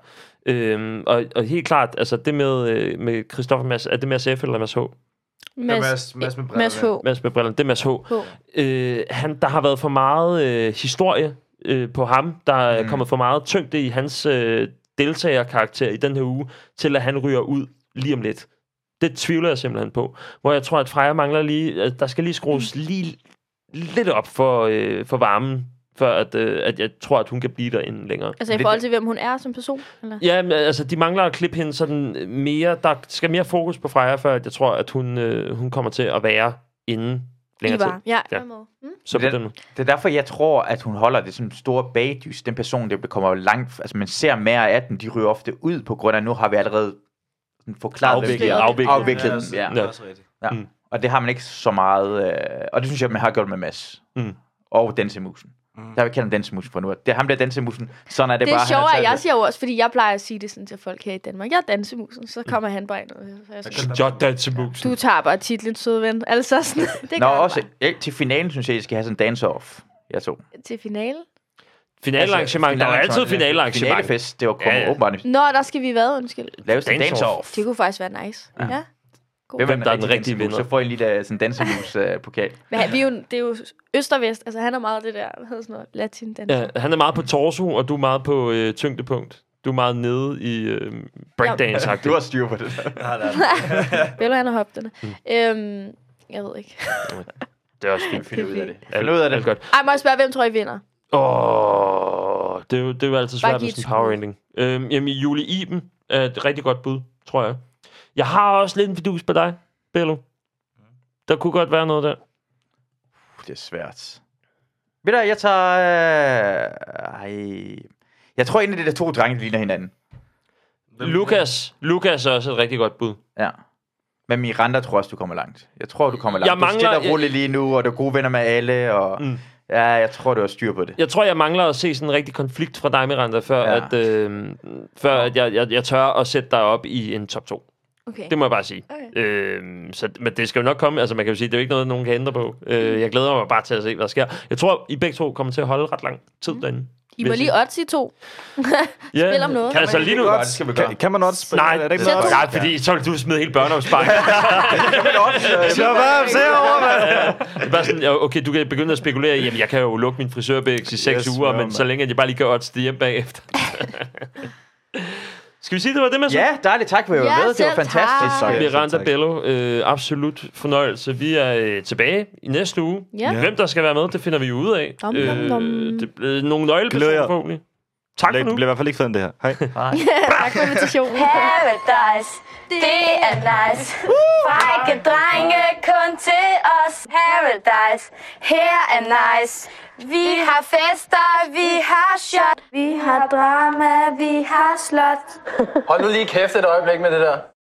S4: Øhm, og, og helt klart, altså det med, øh, med Christoffer Mads, er det Mads F eller Mads H?
S10: Mads- Mads med
S3: Mads H.
S4: Mads med brillerne, det er Mads H.
S3: H.
S4: Øh, han, der har været for meget øh, historie øh, på ham. Der er mm.
S1: Mm.
S4: kommet for meget tyngde i hans øh, deltagerkarakter i den her uge, til at han ryger ud lige om lidt. Det tvivler jeg simpelthen på. Hvor jeg tror, at Freja mangler lige... At der skal lige skrues lige lidt op for, øh, for varmen, før at, øh, at jeg tror, at hun kan blive derinde længere.
S3: Altså i forhold til, hvem hun er som person? Eller?
S4: Ja, men, altså, de mangler at klippe hende sådan mere... Der skal mere fokus på Freja, før at jeg tror, at hun, øh, hun kommer til at være inden længere tid.
S3: var. Ja,
S4: Ja.
S3: ja. Mm.
S4: Så på
S1: Men
S4: den måde.
S1: Det er derfor, jeg tror, at hun holder det som store bagdys. Den person, der kommer jo langt... Altså, man ser mere af den, de ryger ofte ud, på grund af, nu har vi allerede sådan forklaret, hvad vi
S4: Afviklet,
S1: har
S4: afviklet.
S1: afviklet den, ja.
S4: Ja.
S1: ja.
S4: Mm.
S1: Og det har man ikke så meget... Øh, og det synes jeg, man har gjort med Mads.
S4: Mm.
S1: Og Dansemusen. Mm. Der har vi kaldt ham Dansemusen for nu. Det er ham, der er Dansemusen. Sådan er det,
S3: Det er
S1: bare. han har
S3: sjovt, at
S1: taget
S3: jeg
S1: det.
S3: siger jo også, fordi jeg plejer at sige det sådan til folk her i Danmark. Jeg er dansemusen, så kommer han bare ind. Og så er jeg sådan,
S4: Shot dansemusen.
S3: du tager bare titlen, søde ven. Altså
S1: *laughs*
S3: sådan, det gør
S1: Nå,
S3: jeg
S1: også
S3: bare.
S1: ja, til finalen, synes jeg, I skal have sådan en dance-off. Jeg to. Altså,
S3: til finale.
S4: Finalearrangement. Der er altid finalearrangement.
S1: Finalefest, det var kommet
S4: Ja,
S1: ja,
S4: ja.
S1: ja. åbenbart.
S3: Nå, der skal vi være, undskyld.
S1: Laves en
S4: Dance-off.
S1: dance-off.
S3: Det kunne faktisk være nice. Ja. ja.
S1: Hvem,
S4: Hvem der er den rigtige
S1: dansemus?
S4: vinder?
S1: Så får I lige der, sådan en øh, dansemus-pokal.
S4: *laughs*
S3: Men han, vi er jo, det er jo øst og vest. Altså, han er meget det der, hvad hedder sådan noget, latin dans. Ja.
S4: Ja, han er meget på torso, og du er meget på øh, tyngdepunkt. Du er meget nede i øh, breakdance
S1: du har styr på det.
S3: Bello, han er hopterne. Mm. Øhm, jeg ved ikke.
S4: Det er også fint.
S1: Find ud af det.
S4: Alt,
S1: Find ud af det.
S4: alt godt.
S3: Ej, må jeg spørge, hvem tror I vinder?
S4: Åh, det, er jo, det er jo altid
S3: Bare
S4: svært
S3: giv et
S4: med sådan en
S3: skud.
S4: power ending. Øhm, jamen, Julie Iben er et rigtig godt bud, tror jeg. Jeg har også lidt en fidus på dig, Bello. Der kunne godt være noget der.
S1: Puh, det er svært. Ved du, hvad, jeg tager... Øh, ej. Jeg tror egentlig, det er de to drenge, der ligner hinanden.
S4: Lukas. Lukas er også et rigtig godt bud.
S1: Ja. Men Miranda tror også, du kommer langt. Jeg tror, du kommer langt.
S4: Jeg mangler-
S1: Du er stille og roligt lige nu, og du er gode venner med alle. Og...
S4: Mm.
S1: Mm. Ja, jeg tror, du har styr på det.
S4: Jeg tror, jeg mangler at se sådan en rigtig konflikt fra dig, Miranda, før, ja.
S1: Ja.
S4: at, øh, før at jeg, jeg, jeg tør at sætte dig op i en top 2.
S3: Okay.
S4: Det må jeg bare sige.
S3: Okay.
S4: Øh, så, men det skal jo nok komme. Altså, man kan jo sige, det er jo ikke noget, nogen kan ændre på. Øh, jeg glæder mig bare til at se, hvad der sker. Jeg tror, I begge to kommer til at holde ret lang tid derinde.
S3: Mm. I
S4: vil
S3: må
S4: jeg
S3: lige odds i to.
S4: Ja.
S3: Spil om noget.
S4: Kan, altså, lige nu...
S1: Godt, det skal vi gøre.
S10: Kan, kan man også spille?
S4: Nej,
S10: Er det ikke
S3: Sæt
S10: noget?
S3: to.
S4: nej, fordi så vil du smide hele børneopsparingen. *laughs*
S10: Så hvad? Se over, mand.
S4: Det er bare sådan, ja, okay, du kan begynde at spekulere i, jamen, jeg kan jo lukke min frisørbæks i 6 yes,
S10: Yes,
S4: uger,
S10: ja,
S4: men så
S10: mand.
S4: længe at jeg bare lige kan odds det hjem bagefter. Skal vi sige, det var det med så?
S1: Ja, dejligt. Tak for at I var
S3: Ja,
S1: med. Det var
S3: selv
S1: fantastisk.
S3: tak.
S1: Øh,
S4: Miranda Bello, øh, absolut fornøjelse. Vi er øh, tilbage i næste uge.
S3: Ja.
S10: Ja.
S4: Hvem der skal være med, det finder vi ud af.
S3: Dom, dom, dom.
S4: det er øh, nogle nøglepersoner
S10: Glæder jer.
S4: forhåbentlig. Tak for
S10: Det
S4: nu.
S10: bliver i hvert fald ikke fedt, end det her. Hej.
S3: tak for invitationen.
S13: Paradise, det er nice. Frække drenge kun til os. Paradise, her er nice. Vi har fester, vi har shot. Vi har drama, vi har slot.
S11: Hold nu lige kæft et øjeblik med det der.